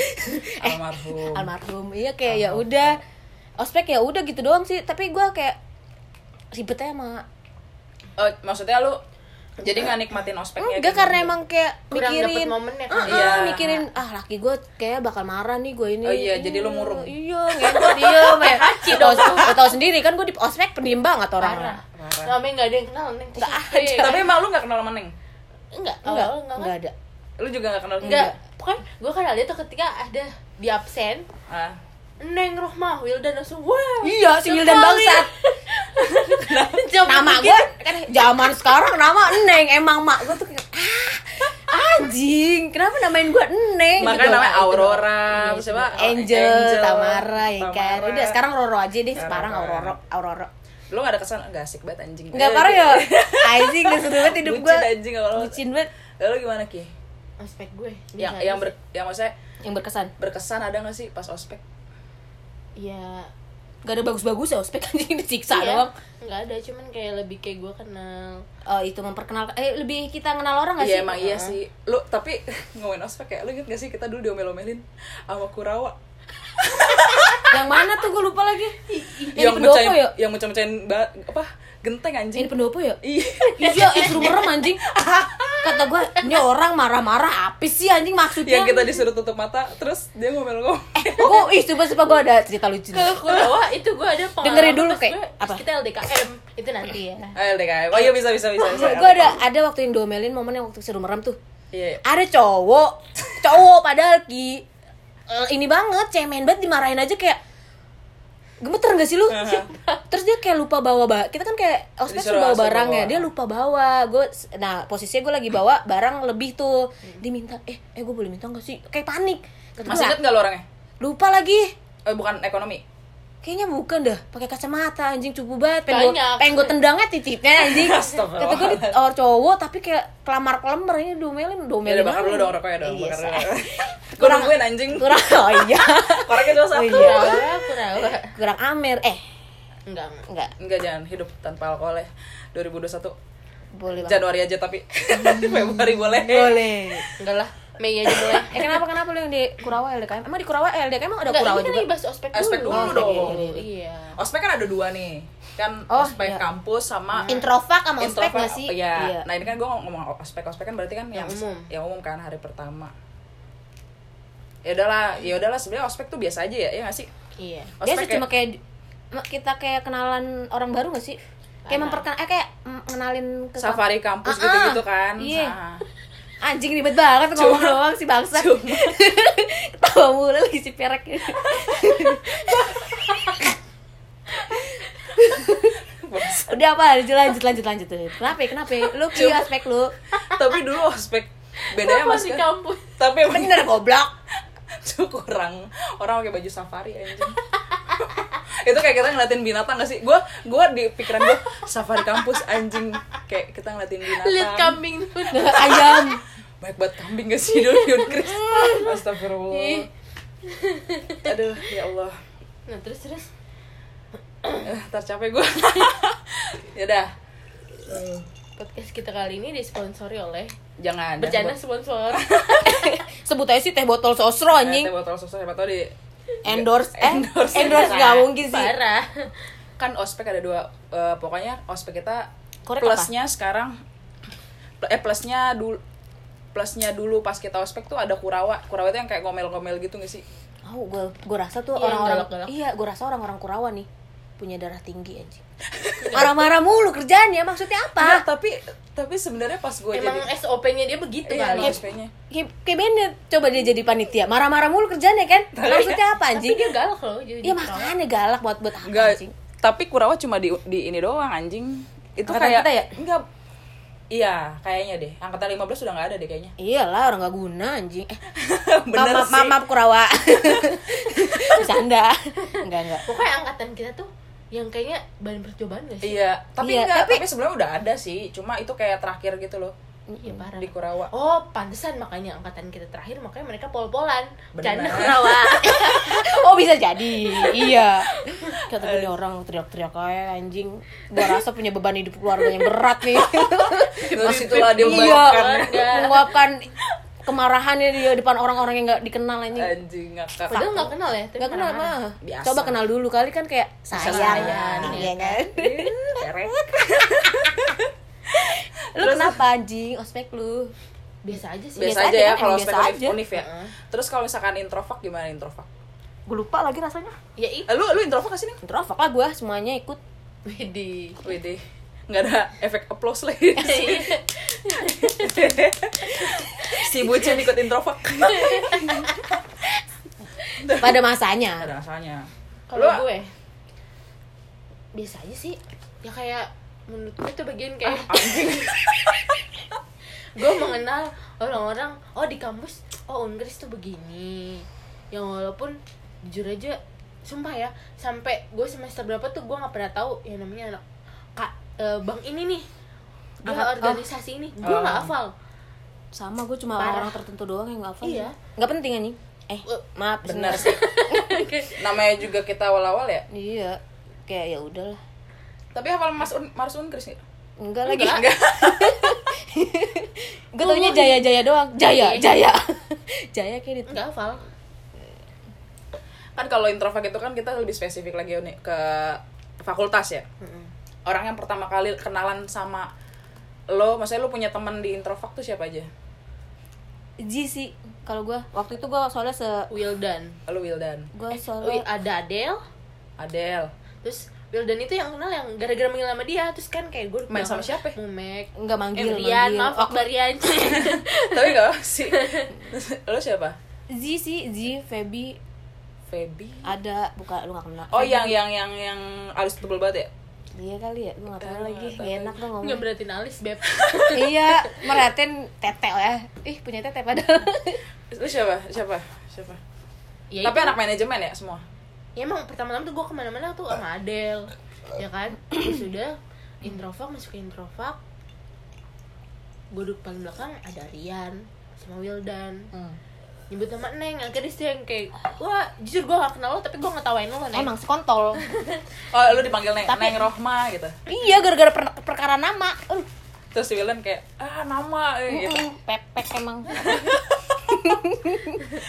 Speaker 4: almarhum
Speaker 2: almarhum iya kayak ya udah ospek ya udah gitu doang sih tapi gue kayak ribet aja sama
Speaker 4: Eh, maksudnya lu jadi nggak nikmatin ospeknya
Speaker 2: enggak
Speaker 4: gitu?
Speaker 2: karena emang kayak
Speaker 1: Kurang dapet
Speaker 2: mikirin
Speaker 1: momennya
Speaker 2: Ah,
Speaker 1: kan?
Speaker 2: ah,
Speaker 4: Iya.
Speaker 2: mikirin ah laki gue kayak bakal marah nih gue ini
Speaker 4: Oh iya, jadi lu
Speaker 2: Iya,
Speaker 4: murung.
Speaker 2: iya gue diem ya Lo tau- lo tau sendiri kan gue di ospek pendiam banget
Speaker 1: parah
Speaker 2: orangnya
Speaker 4: Ah, Parah.
Speaker 1: namanya nggak ada yang kenal neng nggak
Speaker 4: Eh, tapi emang lu nggak kenal sama Neng
Speaker 1: enggak
Speaker 2: enggak
Speaker 4: Oh,
Speaker 1: awal
Speaker 4: kan?
Speaker 1: enggak
Speaker 2: enggak ada
Speaker 4: lu juga nggak kenal sama
Speaker 1: enggak
Speaker 4: dia?
Speaker 1: pokoknya gue kenal dia tuh ketika ada di absen
Speaker 4: Ah.
Speaker 1: Neng Rohmah Wildan langsung wah
Speaker 2: iya si Wildan bangsat nama gue kan zaman sekarang nama Neng emang mak gue tuh kayak ah anjing kenapa namain gue Neng
Speaker 4: Makanya
Speaker 2: Gitu,
Speaker 4: namanya
Speaker 2: gitu.
Speaker 4: Aurora,
Speaker 2: Iya,
Speaker 4: siapa?
Speaker 2: Angel,
Speaker 4: Angel,
Speaker 2: Tamara ya kan
Speaker 4: Tamara.
Speaker 2: udah sekarang Roro aja deh
Speaker 4: Roro.
Speaker 2: sekarang Aurora Aurora
Speaker 4: lu nggak ada kesan nggak asik banget anjing
Speaker 2: Enggak parah ya. Anjing udah seru banget hidup
Speaker 4: bucin
Speaker 2: gua.
Speaker 4: anjing kalau
Speaker 2: Bucin banget
Speaker 4: lu gimana ki
Speaker 1: ospek gue
Speaker 4: yang
Speaker 1: Bisa
Speaker 4: yang
Speaker 1: aja
Speaker 4: ber yang maksudnya
Speaker 2: yang berkesan.
Speaker 4: berkesan ada nggak sih pas ospek
Speaker 1: sih. ya
Speaker 2: Gak ada bagus-bagus ya ospek anjing disiksa
Speaker 1: iya.
Speaker 2: doang.
Speaker 1: nggak ada cuman kayak lebih kayak gue kenal
Speaker 2: Oh, itu memperkenalkan eh lebih kita kenal orang gak sih?
Speaker 4: Iya emang iya sih. Lu tapi ngomongin ospek ya, lu inget gak sih kita dulu diomel-omelin sama Kurawa?
Speaker 2: Yang mana tuh gua lupa lagi. Yang,
Speaker 4: yang
Speaker 2: di pendopo
Speaker 4: mecahin
Speaker 2: ya?
Speaker 4: yang mecah-mecahin ba- apa? Genteng anjing.
Speaker 2: Yang di pendopo ya?
Speaker 4: Iya.
Speaker 2: Iya, itu suruh merem anjing. Kata gua, ini orang marah-marah apa sih anjing maksudnya?
Speaker 4: yang kita disuruh tutup mata, terus dia ngomel-ngomel.
Speaker 2: Gua ih coba-coba gua ada cerita lucu.
Speaker 1: ke Kurawa itu gue ada pengalaman
Speaker 2: Dengerin dulu,
Speaker 1: pas
Speaker 2: kayak,
Speaker 1: gue- pas
Speaker 2: apa?
Speaker 1: kita LDKM itu nanti ya
Speaker 4: Ayo deh kayak. Oh iya bisa bisa bisa. bisa.
Speaker 2: Gua ada ada waktu yang domelin momen yang waktu seru merem tuh.
Speaker 4: Iya.
Speaker 2: ada cowok cowok padahal ki eh, ini banget cemen banget dimarahin aja kayak gemeter gak sih lu terus dia kayak lupa bawa ba kita kan kayak ospek
Speaker 4: Disuruh-
Speaker 2: suruh bawa
Speaker 4: suruh
Speaker 2: barang ya
Speaker 4: bawa.
Speaker 2: dia lupa bawa gue nah posisinya gue lagi bawa barang lebih tuh diminta eh eh gue boleh minta gak sih kayak panik Kata
Speaker 4: Hmm. Masih
Speaker 2: gua,
Speaker 4: inget gak lu orangnya?
Speaker 2: lupa lagi
Speaker 4: Eh bukan ekonomi.
Speaker 2: kayaknya bukan dah pakai kacamata anjing cupu banget pengen gue
Speaker 1: Banyak.
Speaker 2: pengen gue tendangnya titiknya anjing
Speaker 4: Astagfirullah.
Speaker 2: kata gue oh, cowok tapi kayak kelamar kelamar ini domelin
Speaker 4: Ya
Speaker 2: domelin
Speaker 4: udah bakar
Speaker 2: banget.
Speaker 4: dulu dong rokoknya dong,
Speaker 2: Iya,
Speaker 4: bakar
Speaker 2: say.
Speaker 4: dulu. Gua nungguin anjing.
Speaker 2: kurang iya. oh iya
Speaker 4: Orangnya dulu satu.
Speaker 1: Kurawa Kurawa
Speaker 2: kurang amer eh
Speaker 1: enggak enggak.
Speaker 2: enggak
Speaker 4: Enggak jangan hidup tanpa alkohol ya. 2021
Speaker 2: boleh banget
Speaker 4: Januari aja tapi Februari boleh.
Speaker 2: boleh
Speaker 1: enggak lah Mei aja mulai
Speaker 2: eh kenapa kenapa lu yang di Kurawa LDKM emang di Kurawa LDKM emang ada
Speaker 1: Enggak,
Speaker 2: Kurawa
Speaker 1: ini kan
Speaker 2: juga
Speaker 1: lagi bahas ospek dulu.
Speaker 4: Ospek dulu
Speaker 2: ospek
Speaker 4: dong.
Speaker 2: dulu.
Speaker 1: Iya.
Speaker 4: Ospek kan ada dua nih. Kan
Speaker 2: Oh,
Speaker 4: ospek
Speaker 2: iya.
Speaker 4: kampus sama
Speaker 2: introvak sama ospek
Speaker 4: introvert,
Speaker 2: gak sih
Speaker 4: Iya.
Speaker 2: Iya.
Speaker 4: Nah, ini kan gue ngomong ospek ospek kan berarti kan yang
Speaker 1: Yang umum.
Speaker 4: yang umum kan hari pertama. Ya udahlah, ya udahlah sebenarnya ospek tuh biasa aja ya, ya nggak sih?
Speaker 1: Iya.
Speaker 2: dia
Speaker 4: Ospek
Speaker 2: cuma kayak ma- kita kayak kenalan orang baru gak sih kayak memperkenal eh kayak mm, ngenalin ke
Speaker 4: safari
Speaker 2: Ah,
Speaker 4: kampus
Speaker 2: ah.
Speaker 4: gitu-gitu kan.
Speaker 2: Iya.
Speaker 4: Nah,
Speaker 2: anjing ribet banget ngomong doang si bangsa ketawa mulu lagi si perek udah apa lanjut lanjut lanjut lanjut kenapa ya, kenapa ya? lu kira aspek lu
Speaker 4: tapi dulu ospek bedanya
Speaker 1: Kenapa
Speaker 4: mas
Speaker 1: di kampus?
Speaker 4: tapi emang
Speaker 2: bener goblok
Speaker 4: tuh kurang orang pakai baju safari anjing itu kayak kita ngeliatin binatang gak sih gue gue di pikiran gue safari kampus anjing kayak kita ngeliatin binatang
Speaker 1: Lihat kambing tuh.
Speaker 2: Nah, ayam
Speaker 4: baik buat kambing gak sih dulu Yun Kris astagfirullah aduh ya Allah
Speaker 1: Nah, terus terus
Speaker 4: eh, tercapai gue yaudah
Speaker 1: podcast kita kali ini disponsori oleh
Speaker 4: jangan
Speaker 1: bercanda sponsor.
Speaker 2: sebut aja sih teh botol sosro
Speaker 4: anjing
Speaker 2: anjing
Speaker 4: botol susu hebat tau di
Speaker 2: endorse eh
Speaker 4: Endorse.
Speaker 2: endorse, nggak mungkin sih
Speaker 1: Parah.
Speaker 4: kan ospek ada dua eh, pokoknya ospek kita
Speaker 2: Korek
Speaker 4: plusnya sekarang eh plusnya dulu plusnya dulu pas kita ospek tuh ada kurawa kurawa itu yang kayak ngomel-ngomel gitu gak sih
Speaker 2: oh gue gue rasa tuh
Speaker 1: Iya,
Speaker 2: orang-orang
Speaker 1: galak-galak.
Speaker 2: iya gue rasa orang-orang Kurawa nih punya darah tinggi anjing marah-marah mulu kerjaannya maksudnya
Speaker 4: Enggak,
Speaker 2: apa
Speaker 4: tapi tapi sebenarnya pas gue jadi
Speaker 1: Emang SOP-nya dia begitu
Speaker 4: eh, iya,
Speaker 1: kali.
Speaker 4: ospeknya
Speaker 2: kayak, kayak Bennett coba dia jadi panitia marah-marah mulu kerjaannya kan maksudnya apa
Speaker 1: Tapi
Speaker 2: anjing
Speaker 1: dia galak loh jadi. gitu.
Speaker 2: Iya makanya galak buat buat apa
Speaker 4: Enggak,
Speaker 2: anjing?
Speaker 4: tapi Kurawa cuma di, di ini doang anjing. Itu
Speaker 2: Angkatan
Speaker 4: kayak
Speaker 2: kita ya?
Speaker 4: Enggak. Iya, kayaknya deh. Angkatan 15 sudah nggak ada deh kayaknya.
Speaker 2: Iyalah orang gak guna anjing. Eh,
Speaker 4: Bener
Speaker 2: maaf,
Speaker 4: sih.
Speaker 2: maaf, maaf, Kurawa. Bercanda. Enggak enggak.
Speaker 1: Pokoknya angkatan kita tuh yang kayaknya bahan percobaan gak sih?
Speaker 4: Iya, tapi
Speaker 2: Iya,
Speaker 4: enggak,
Speaker 2: tapi-
Speaker 4: tapi, sebelumnya udah ada sih. Cuma itu kayak terakhir gitu loh.
Speaker 1: Iya parah.
Speaker 4: di Kurawa.
Speaker 1: Oh, pantesan makanya angkatan kita terakhir makanya mereka pol-polan.
Speaker 4: Benar.
Speaker 1: Canda Kurawa.
Speaker 2: Oh bisa jadi, iya. Kata ini orang teriak-teriak kayak anjing. Gua rasa punya beban hidup keluarga yang berat nih.
Speaker 4: Pas itulah dia
Speaker 1: membayangkan.
Speaker 2: Iya, mengungkapkan kemarahannya ya di depan orang-orang yang nggak dikenal anjing.
Speaker 4: Anjing ngakak.
Speaker 1: Padahal nggak kenal ya. tapi
Speaker 2: Nggak kenal
Speaker 1: marah-marah.
Speaker 2: mah.
Speaker 4: Eh, Biasa.
Speaker 2: Coba kenal dulu kali kan kayak sayang,
Speaker 1: sayang,
Speaker 2: iya
Speaker 1: iya
Speaker 2: kan?
Speaker 4: Perek.
Speaker 2: Lu kenapa anjing? Ospek lu?
Speaker 1: Biasa aja sih.
Speaker 4: Biasa
Speaker 2: Biasa
Speaker 4: aja
Speaker 2: aja
Speaker 4: ya
Speaker 2: kan,
Speaker 4: kalau
Speaker 2: biasa
Speaker 4: spek
Speaker 2: aja.
Speaker 4: univ, univ ya.
Speaker 1: Heeh.
Speaker 4: Terus kalau misalkan introvert gimana introvert?
Speaker 2: Gue lupa lagi rasanya.
Speaker 1: Ya itu.
Speaker 4: Eh, lu lu introvert gak sih nih?
Speaker 2: Introvert lah gue, semuanya ikut.
Speaker 1: Widih.
Speaker 4: Wede. Nggak ada efek applause lagi. si bucin ikut introvert.
Speaker 2: Pada masanya.
Speaker 4: ada masalahnya.
Speaker 1: Kalau
Speaker 4: Lu-
Speaker 1: gue biasa aja sih. Ya kayak menurut gue itu bagian kayak
Speaker 4: Ah,
Speaker 1: gue mengenal orang-orang oh di kampus oh Inggris tuh begini yang walaupun jujur aja sumpah ya sampai gue semester berapa tuh gue nggak pernah tahu yang namanya anak kak eh, bang ini nih dia
Speaker 2: Angkat-
Speaker 1: organisasi ini gue nggak
Speaker 4: Oh.
Speaker 1: hafal
Speaker 2: Sama gue cuma
Speaker 1: Parah.
Speaker 2: orang tertentu doang yang nggak hafal.
Speaker 1: Iya.
Speaker 2: Nggak penting anjing. Eh, maaf.
Speaker 4: Bener sih. Namanya juga kita awal-awal ya.
Speaker 2: Iya. Kayak ya udahlah.
Speaker 4: Tapi hafal Mas Un Mars Unkris nih.
Speaker 2: Enggak lagi. Gue taunya jaya-jaya doang. Jaya, jaya. jaya kayak gitu.
Speaker 1: nggak hafal
Speaker 4: Kan kalau introvert itu kan kita lebih spesifik lagi nih ke fakultas ya. Orang yang pertama kali kenalan sama lo, maksudnya lo punya teman di introvert tuh siapa aja?
Speaker 2: Ji sih kalau gue waktu itu gue soalnya se
Speaker 1: Wildan
Speaker 4: Lo Wildan,
Speaker 2: gue
Speaker 1: Wi-
Speaker 2: soalnya
Speaker 1: ada Adele
Speaker 4: Adele,
Speaker 1: terus Wildan itu yang kenal yang gara-gara manggil sama dia terus kan kayak gue
Speaker 4: Main sama siapa?
Speaker 1: Mumek
Speaker 2: nggak
Speaker 1: Eh,
Speaker 2: manggil,
Speaker 1: Rian,
Speaker 2: manggil. Oh,
Speaker 1: maaf Akbar Rian
Speaker 4: tapi gak sih. Lo siapa?
Speaker 2: Ji sih Ji Feby
Speaker 4: Feby.
Speaker 2: ada buka lu nggak kenal
Speaker 4: Oh yang yang yang yang alis tebel banget ya?
Speaker 2: iya kali ya gue nggak tahu lagi
Speaker 4: nggak tahu
Speaker 2: gak enak gue ngomong
Speaker 1: nggak berarti alis beb
Speaker 2: iya meratin tetel ya ih punya tete padahal
Speaker 4: Lo siapa? Siapa? Siapa?
Speaker 1: ya
Speaker 4: tapi
Speaker 1: itu.
Speaker 4: anak manajemen ya semua.
Speaker 1: ya emang pertama-tama tuh gue kemana-mana tuh sama Adele ya kan terus udah introvak masuk ke introvak gue duduk paling belakang ada Rian sama Wildan
Speaker 4: Hmm.
Speaker 1: nyebut nama Neng akhirnya dia yang kayak wah jujur gue gak kenal lo tapi gue ngetawain lo Neng
Speaker 2: emang sekontol
Speaker 4: Oh, lu dipanggil Neng, Neng Rohma gitu.
Speaker 2: iya gara-gara per- perkara nama Uh, Aduh,
Speaker 4: Terus si Wildan kayak, ah nama eh, gitu.
Speaker 2: pepek emang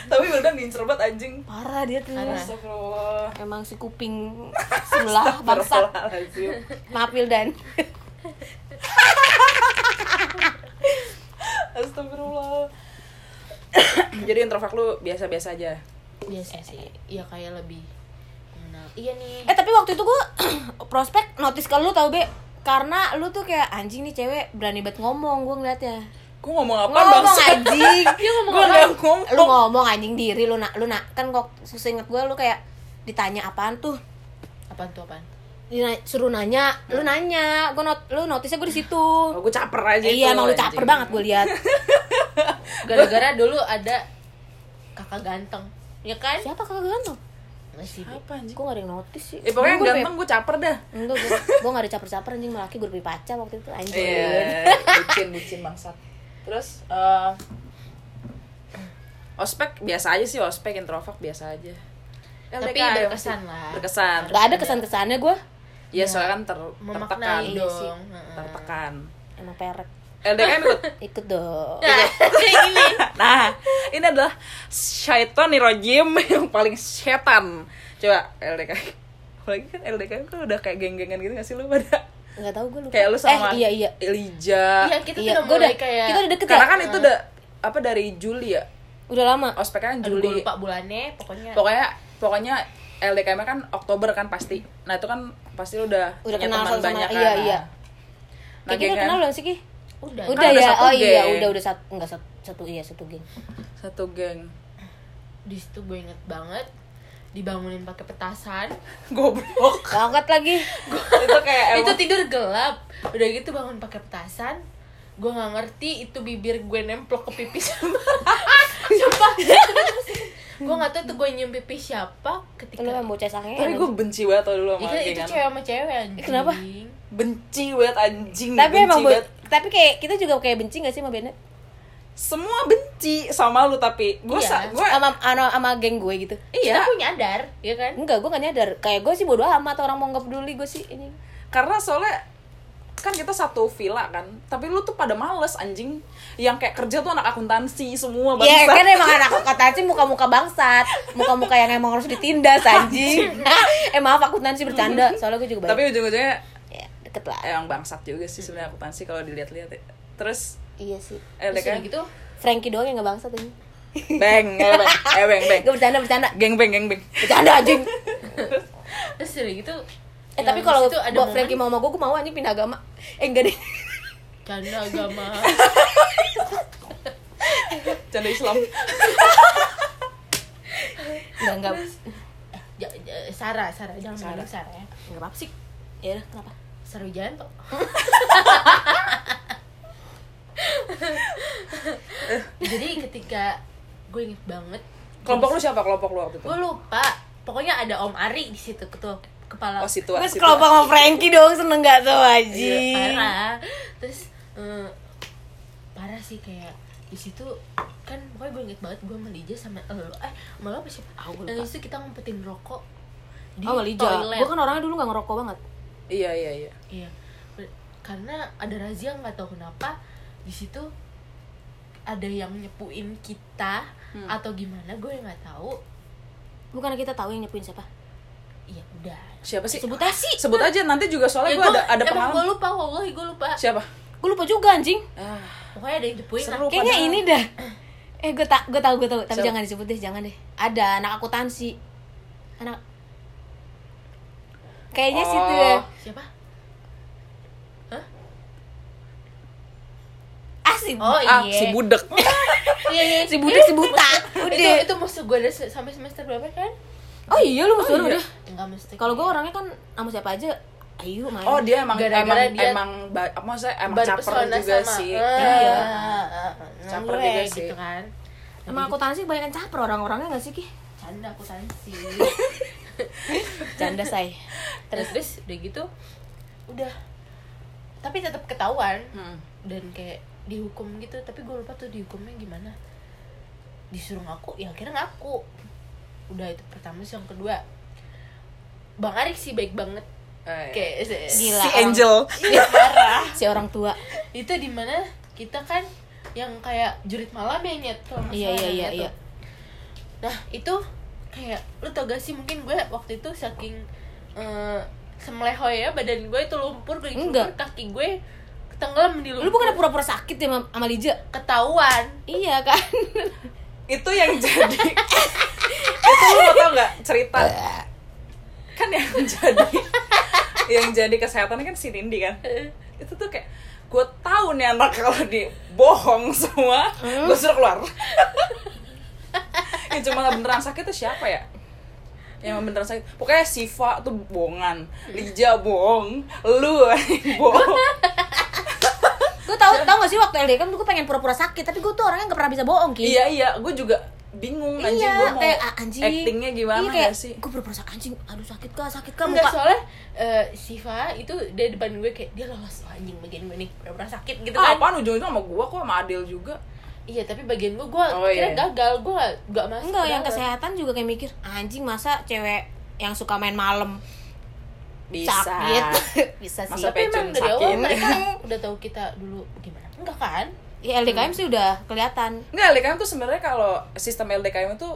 Speaker 4: Tapi Wildan diincer banget anjing.
Speaker 2: parah dia tuh
Speaker 1: Parah.
Speaker 4: Astagfirullah.
Speaker 2: emang si kuping
Speaker 4: Ah,
Speaker 2: sebelah bangsa
Speaker 4: Astagfirullahaladzim.
Speaker 2: maaf Wildan
Speaker 4: Astagfirullah. Jadi introvert lu biasa-biasa aja.
Speaker 1: biasa sih ya kayak lebih mengenal iya nih
Speaker 2: eh tapi waktu itu gue prospek notice ke lu tau be karena lu tuh kayak anjing nih cewek berani banget ngomong gue ngeliatnya
Speaker 4: Gua ngomong apa
Speaker 2: ngomong
Speaker 4: bangsa?
Speaker 2: anjing
Speaker 1: dia ngomong
Speaker 4: Gua
Speaker 1: apa?
Speaker 4: nggak kan ngomong.
Speaker 2: lu ngomong anjing diri lu nak lu nak kan kok susah inget gue lu kayak ditanya apaan tuh
Speaker 1: apaan tuh apaan
Speaker 2: Dina- suruh nanya lu nanya gue not lu notisnya gue di situ
Speaker 4: Oh, gua caper aja
Speaker 2: iya
Speaker 4: itu,
Speaker 2: emang lu
Speaker 4: anjing.
Speaker 2: caper banget gue lihat
Speaker 1: gara-gara dulu ada kakak ganteng ya kan
Speaker 2: Eh, siapa kakak ganteng
Speaker 1: masih
Speaker 4: Apa anjing?
Speaker 2: gue gak ada yang notis sih
Speaker 4: Eh, pokoknya yang
Speaker 2: Gue
Speaker 4: ganteng gua caper dah.
Speaker 2: kayak- enggak gue gue gak ada caper-caper anjing melaki gue berpipaca waktu itu anjing
Speaker 4: Iya, bucin bucin bangsat. Terus eh ospek biasa aja sih ospek introvert biasa aja.
Speaker 1: tapi
Speaker 4: LDK,
Speaker 1: berkesan lah
Speaker 4: Berkesan.
Speaker 2: gak ada kesan-kesannya gue
Speaker 4: Iya, soalnya kan ter tertekan.
Speaker 1: memaknai
Speaker 2: Iya sih.
Speaker 1: dong Heeh.
Speaker 4: Tertekan.
Speaker 2: emang perek
Speaker 4: LDKM ikut.
Speaker 2: ikut dong
Speaker 4: Nah, ini adalah syaiton rojim yang paling setan. Coba LDKM. Apalagi kan LDKM kan udah kayak geng-gengan gitu gak sih lu pada?
Speaker 2: nggak tahu gue lupa
Speaker 4: Kayak lu sama
Speaker 2: eh iya iya
Speaker 4: Elijah.
Speaker 1: iya kita
Speaker 2: iya
Speaker 1: tuh udah
Speaker 2: gue udah
Speaker 1: mulai kayak
Speaker 2: kita udah deket
Speaker 4: Karena
Speaker 2: ya
Speaker 4: kan itu udah apa dari Juli ya?
Speaker 2: udah lama
Speaker 4: Ospeknya kan
Speaker 1: Aduh,
Speaker 4: Juli.
Speaker 1: gua lupa bulannya
Speaker 2: Iya.
Speaker 1: pokoknya
Speaker 4: pokoknya pokoknya LDKM kan Oktober kan pasti nah itu kan pasti lu udah
Speaker 2: Udah
Speaker 4: punya
Speaker 2: kenal
Speaker 4: teman
Speaker 2: sama- sama-
Speaker 4: banyak
Speaker 2: iya,
Speaker 4: kan.
Speaker 2: iya.
Speaker 4: nah
Speaker 2: kayak kita udah
Speaker 4: gengan-
Speaker 2: kenal belum sih ki
Speaker 1: udah
Speaker 2: Udah
Speaker 4: Kan ada
Speaker 2: ya,
Speaker 4: satu
Speaker 2: oh iya,
Speaker 4: geng.
Speaker 2: udah udah satu enggak satu, satu iya satu geng.
Speaker 4: satu geng
Speaker 1: di situ gue inget banget dibangunin pakai petasan
Speaker 4: goblok
Speaker 2: Banget lagi.
Speaker 4: itu kayak
Speaker 1: itu
Speaker 4: emang-
Speaker 1: tidur gelap udah gitu bangun pakai petasan gue nggak ngerti itu bibir gue nemplok ke pipi siapa siapa gue nggak tahu tuh gue nyium pipi siapa
Speaker 2: Lu
Speaker 1: ketika
Speaker 2: kan bocah sange.
Speaker 4: tapi gue benci banget tau
Speaker 1: Ya
Speaker 4: dulu sama
Speaker 1: kan, itu
Speaker 4: gengan
Speaker 1: cewek sama cewek anjing
Speaker 2: Kenapa?
Speaker 4: benci banget anjing
Speaker 2: tapi
Speaker 4: benci
Speaker 2: emang bu-
Speaker 4: banget.
Speaker 2: tapi kayak kita juga kayak benci gak sih sama Bennett
Speaker 4: semua benci sama lu tapi gue
Speaker 1: Iya.
Speaker 4: sa- gue
Speaker 2: sama ano- sama geng gue gitu
Speaker 1: Kita
Speaker 4: iya
Speaker 1: pun nyadar, ya kan?
Speaker 2: enggak gue gak nyadar kayak gue sih bodo amat orang mau nggak peduli gue sih ini
Speaker 4: karena soalnya kan kita satu villa kan tapi lu tuh pada males anjing yang kayak kerja tuh anak akuntansi semua
Speaker 2: Iya
Speaker 4: bangsa
Speaker 2: kan emang anak akuntansi muka-muka bangsat Muka-muka yang emang harus ditindas anjing Eh maaf akuntansi bercanda Soalnya gue juga banyak
Speaker 4: tapi ujung-ujungnya eh,
Speaker 2: ya, deket lah
Speaker 4: emang bangsat juga sih sebenarnya akuntansi kalau dilihat-lihat ya. terus
Speaker 2: Iya sih
Speaker 1: Terus
Speaker 4: eh
Speaker 1: udah
Speaker 4: kan
Speaker 1: gitu,
Speaker 2: Frankie doang yang gak bangsat ini
Speaker 4: beng eh, beng eh beng beng
Speaker 2: Gue bercanda bercanda
Speaker 4: geng beng geng beng
Speaker 2: Bercanda anjing
Speaker 1: terus udah gitu.
Speaker 2: Eh tapi
Speaker 1: yang
Speaker 2: kalau
Speaker 1: habis itu ada
Speaker 2: Bo-
Speaker 1: momen
Speaker 2: Frankie mau sama gue Gue mau anjing pindah agama Eh enggak deh
Speaker 1: canda agama.
Speaker 4: canda Islam
Speaker 2: Enggak enggak
Speaker 1: Ja- ja- Sarah, Sarah, jangan
Speaker 4: Sarah.
Speaker 1: Sarah. Sarah ya.
Speaker 2: Enggak apa-apa sih Yaudah Ya kenapa
Speaker 1: Sarah Wijayanto. Jadi ketika gue inget banget,
Speaker 4: kelompok lu siapa kelompok lu waktu itu
Speaker 1: gue lupa. Pokoknya ada Om Ari di situ ketua kepala
Speaker 4: oh situa
Speaker 2: Gue
Speaker 4: situa
Speaker 2: sekelompok sama Frankie dong seneng gak tuh anjing
Speaker 1: parah terus eh, parah sih kayak di situ kan pokoknya gue inget banget gue sama Lija sama elu eh malah apa siapa
Speaker 4: Ah,
Speaker 2: Aku lupa.
Speaker 1: Dan di situ kita ngumpetin rokok di
Speaker 2: Oh Lija,
Speaker 1: toilet
Speaker 2: gue kan orangnya dulu gak ngerokok banget
Speaker 4: iya iya iya
Speaker 1: iya Ber- karena ada razia nggak tahu kenapa di situ ada yang nyepuin kita
Speaker 4: Hmm.
Speaker 1: atau gimana gue nggak tahu
Speaker 2: Bukan kita tahu yang nyepuin siapa
Speaker 1: iya udah Nah,
Speaker 4: siapa sih
Speaker 2: Sebut aja sih
Speaker 4: sebut aja nanti juga
Speaker 1: Ya,
Speaker 4: soalnya gue ada ada
Speaker 1: emang gue
Speaker 4: pengalaman
Speaker 1: lupa wallahi gue lupa
Speaker 4: siapa
Speaker 2: Gue lupa juga anjing
Speaker 4: ah,
Speaker 1: pokoknya ada yang nyepuin
Speaker 4: Seru.
Speaker 2: Kayaknya
Speaker 4: Padahal-
Speaker 2: ini dah. Eh gue tak gue tahu gue tahu tapi
Speaker 4: Siapa?
Speaker 2: jangan disebut deh jangan deh. Ada anak akuntansi. Anak. Kayaknya
Speaker 4: Oh.
Speaker 2: situ ya.
Speaker 1: siapa
Speaker 2: Ah si
Speaker 1: oh iya
Speaker 4: ah si budek
Speaker 1: Iya, iya.
Speaker 2: si budak si buta.
Speaker 1: itu
Speaker 2: Udah.
Speaker 1: itu musuh gue dari se- sampai semester berapa kan
Speaker 2: Oh iya lu musuh
Speaker 4: iya.
Speaker 2: udah.
Speaker 1: enggak mesti
Speaker 2: Kalau gue orangnya kan sama siapa aja ayo main.
Speaker 4: Oh dia emang
Speaker 1: Gara-gara
Speaker 4: emang
Speaker 1: dia-
Speaker 4: emang ba- apa maksudnya emang caper
Speaker 1: Berpesona
Speaker 4: juga
Speaker 1: sama-
Speaker 4: sih.
Speaker 1: Ah,
Speaker 4: Iya.
Speaker 1: ah, ah,
Speaker 4: Caper
Speaker 1: gue
Speaker 4: juga sih.
Speaker 1: gitu kan
Speaker 2: Emang akuntansi kebanyakan caper orang-orangnya gak sih Ki?
Speaker 1: canda aku tansi
Speaker 2: Canda say.
Speaker 1: terus terus udah gitu udah tapi tetap ketahuan
Speaker 4: Hmm.
Speaker 1: dan kayak dihukum gitu tapi gue lupa tuh dihukumnya gimana disuruh ngaku ya akhirnya ngaku udah itu pertama sih yang kedua bang Arik sih baik banget
Speaker 4: Eh,
Speaker 1: kayak Iya, se-
Speaker 2: Gila,
Speaker 4: si
Speaker 2: orang-
Speaker 4: Angel.
Speaker 2: Si orang tua.
Speaker 1: itu dimana kita kan yang kayak jurit malam ya nyet kalau nggak
Speaker 2: Iya
Speaker 1: salah
Speaker 2: iya iya
Speaker 1: namanya
Speaker 2: iya.
Speaker 1: tuh. nah itu kayak lu tau gak sih mungkin gue waktu itu saking eh, semlehoy ya badan gue itu lumpur gue
Speaker 2: Enggak.
Speaker 1: lumpur kaki gue ketenggelam di lumpur
Speaker 2: Lu bukan pura-pura sakit ya sama- sama Lija?
Speaker 1: ketahuan
Speaker 2: Iya kan?
Speaker 4: Itu yang jadi. itu lu mau tau nggak cerita? Kan yang jadi yang jadi kesehatan kan si Nindi kan. Itu tuh kayak gue tahu nih anak kalau di bohong semua,
Speaker 2: Hmm?
Speaker 4: gue suruh keluar. yang cuma beneran sakit tuh siapa ya? yang beneran sakit pokoknya Siva tuh bohongan Lija bohong lu bohong
Speaker 2: gue tau tau gak sih waktu LDK kan gue pengen pura-pura sakit tapi gue tuh orangnya gak pernah bisa bohong ki
Speaker 4: Iya iya, gue juga bingung anjing
Speaker 2: Iya,
Speaker 4: gue mau
Speaker 2: kayak ah, anjing
Speaker 4: actingnya gimana
Speaker 2: iya, kayak,
Speaker 4: ya sih?
Speaker 2: gue pura-pura sakit anjing aduh sakit kah sakit kah
Speaker 1: Enggak,
Speaker 2: muka
Speaker 1: soalnya eh, Siva itu dari depan gue kayak dia lolos "Wah, anjing bagian gue nih pura-pura sakit gitu
Speaker 4: Ah,
Speaker 1: kan
Speaker 4: apaan ujung-ujungnya sama gue kok sama Adil juga.
Speaker 1: iya tapi bagian gue gue
Speaker 4: Oh,
Speaker 1: kira
Speaker 4: iya.
Speaker 1: gagal gue gak, gak masuk
Speaker 2: enggak yang
Speaker 1: ke dalam.
Speaker 2: kesehatan juga kayak mikir anjing masa cewek yang suka main malam
Speaker 4: Bisa.
Speaker 2: sakit bisa sih
Speaker 4: Masa
Speaker 1: tapi emang
Speaker 4: Pecun
Speaker 1: dari awal
Speaker 4: sakit.
Speaker 1: mereka udah tahu kita dulu gimana enggak kan
Speaker 2: ya LDKM sih udah kelihatan
Speaker 4: Enggak, LDKM tuh sebenarnya kalau sistem LDKM itu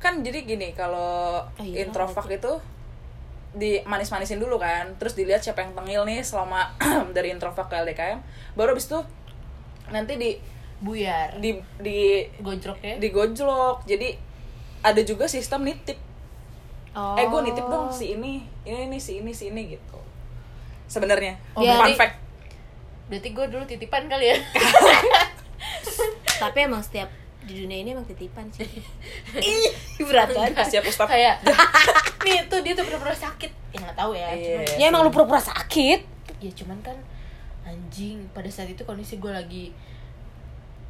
Speaker 4: kan jadi gini, kalau
Speaker 2: Oh, iya,
Speaker 4: introvak itu di manis-manisin dulu kan, terus dilihat siapa yang tengil nih selama dari introvak ke LDKM, baru abis itu nanti di
Speaker 1: buyar
Speaker 4: di di
Speaker 1: gojroknya
Speaker 4: digojlok. Jadi ada juga sistem nitip
Speaker 2: oh.
Speaker 4: eh gue nitip dong si ini ini ini si ini si ini gitu sebenarnya
Speaker 2: Oh,
Speaker 4: Fun
Speaker 2: berarti-
Speaker 4: fact
Speaker 1: berarti gue dulu titipan kali ya
Speaker 2: tapi emang setiap di dunia ini emang titipan sih ih berat banget
Speaker 4: siap ustaz
Speaker 1: kayak nih tuh dia tuh bener-bener sakit ya nggak tahu ya
Speaker 4: Iya.
Speaker 1: cuman,
Speaker 2: ya emang lu pura-pura sakit
Speaker 1: ya cuman kan anjing pada saat itu kondisi gue lagi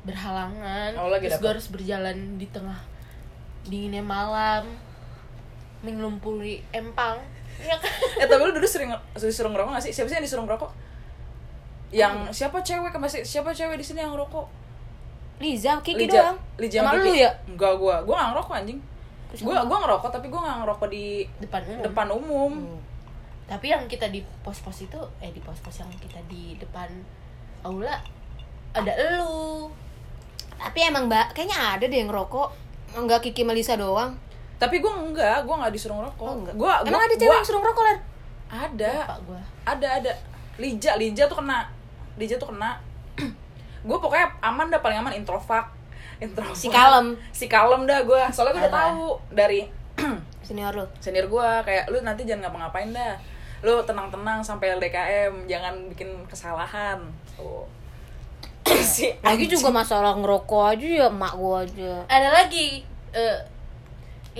Speaker 1: berhalangan
Speaker 4: Oh, lagi
Speaker 1: terus
Speaker 4: dapet.
Speaker 1: gue harus berjalan di tengah dinginnya malam menyelumpuri empang ya kan?
Speaker 4: eh tapi lu dulu sering disuruh ngerokok gak sih siapa sih yang disuruh ngerokok yang siapa cewek kan masih siapa cewek di sini yang ngerokok
Speaker 2: Liza, Kiki
Speaker 4: Lija-
Speaker 2: doang.
Speaker 4: Lija
Speaker 2: Sama lu
Speaker 4: sama Kiki.
Speaker 2: ya?
Speaker 4: Enggak gua, gua gak ngerokok anjing. Gua gua ngerokok tapi gua gak ngerokok di
Speaker 1: depan
Speaker 2: Hmm.
Speaker 1: umum.
Speaker 4: depan umum.
Speaker 1: tapi yang kita di pos-pos itu eh di pos-pos yang kita di depan aula ada elu
Speaker 2: Tapi emang Mbak, kayaknya ada deh yang ngerokok. Enggak Kiki Melisa doang.
Speaker 4: Tapi gua enggak, gua gak disuruh ngerokok.
Speaker 2: Oh, enggak.
Speaker 4: Gua, gua
Speaker 2: Emang ada cewek
Speaker 4: gua-
Speaker 2: yang suruh ngerokok, Ler?
Speaker 4: Ada.
Speaker 1: pak gua
Speaker 4: Ada ada. Lija, Lija tuh kena. Lija tuh kena. gua pokoknya aman dah paling aman introvak. Introvak.
Speaker 2: Si kalem,
Speaker 4: Si kalem dah gua. Soalnya gua udah
Speaker 1: Parah.
Speaker 4: tahu dari
Speaker 2: senior lu.
Speaker 4: senior gua kayak lu nanti jangan ngapa-ngapain dah. Lu tenang-tenang sampai LDKM, jangan bikin kesalahan. Tuh. Si
Speaker 2: Lagi juga masalah ngerokok aja ya emak gua aja.
Speaker 1: ada lagi eh,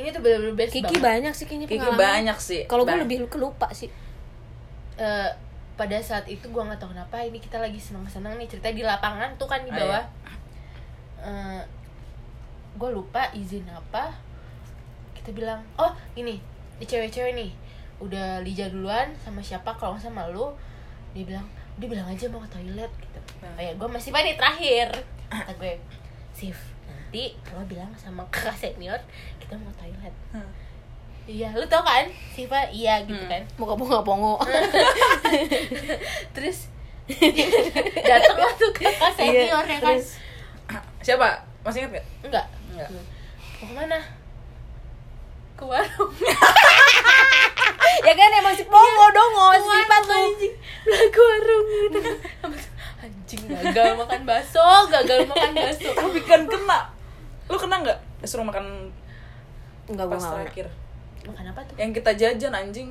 Speaker 1: ini tuh bener-bener best
Speaker 2: Kiki
Speaker 1: banget.
Speaker 2: banyak sih kayaknya
Speaker 4: Kiki
Speaker 2: pengalaman.
Speaker 4: gitu banyak sih.
Speaker 2: Kalau gua
Speaker 4: Ba-
Speaker 2: lebih kelupa sih.
Speaker 1: Eh, pada saat itu gua nggak tahu kenapa ini kita lagi senang-senang nih cerita di lapangan tuh kan di
Speaker 4: Ah,
Speaker 1: bawah Eh, gua lupa izin apa kita bilang oh ini di cewek-cewek nih udah Lija duluan sama siapa kalau nggak sama lu dia bilang dia bilang aja mau ke toilet gitu
Speaker 4: Nah.
Speaker 1: kayak gue masih mandi terakhir kata gue Sif nanti lo bilang sama kakak senior kita mau ke toilet
Speaker 4: Hmm.
Speaker 1: iya lu tau kan Siva iya gitu
Speaker 4: Hmm.
Speaker 1: kan
Speaker 2: Muka bunga pongo.
Speaker 1: terus datang lah tuh kakak
Speaker 4: Iya,
Speaker 1: senior ya kan
Speaker 2: terus.
Speaker 4: Siapa? Masih inget gak?
Speaker 1: enggak
Speaker 4: Enggak.
Speaker 2: Hmm.
Speaker 1: mau kemana ke warung
Speaker 2: ya kan emang si pongo
Speaker 4: Iya.
Speaker 2: dong, si sifat lu.
Speaker 1: anjing belah ke warung gitu anjing gagal makan bakso gagal makan bakso
Speaker 4: Tapi kan kena. Lu kena nggak? Disuruh makan
Speaker 2: Enggak gua
Speaker 4: pas
Speaker 2: enggak.
Speaker 4: terakhir.
Speaker 1: makan apa tuh
Speaker 4: Yang kita jajan anjing.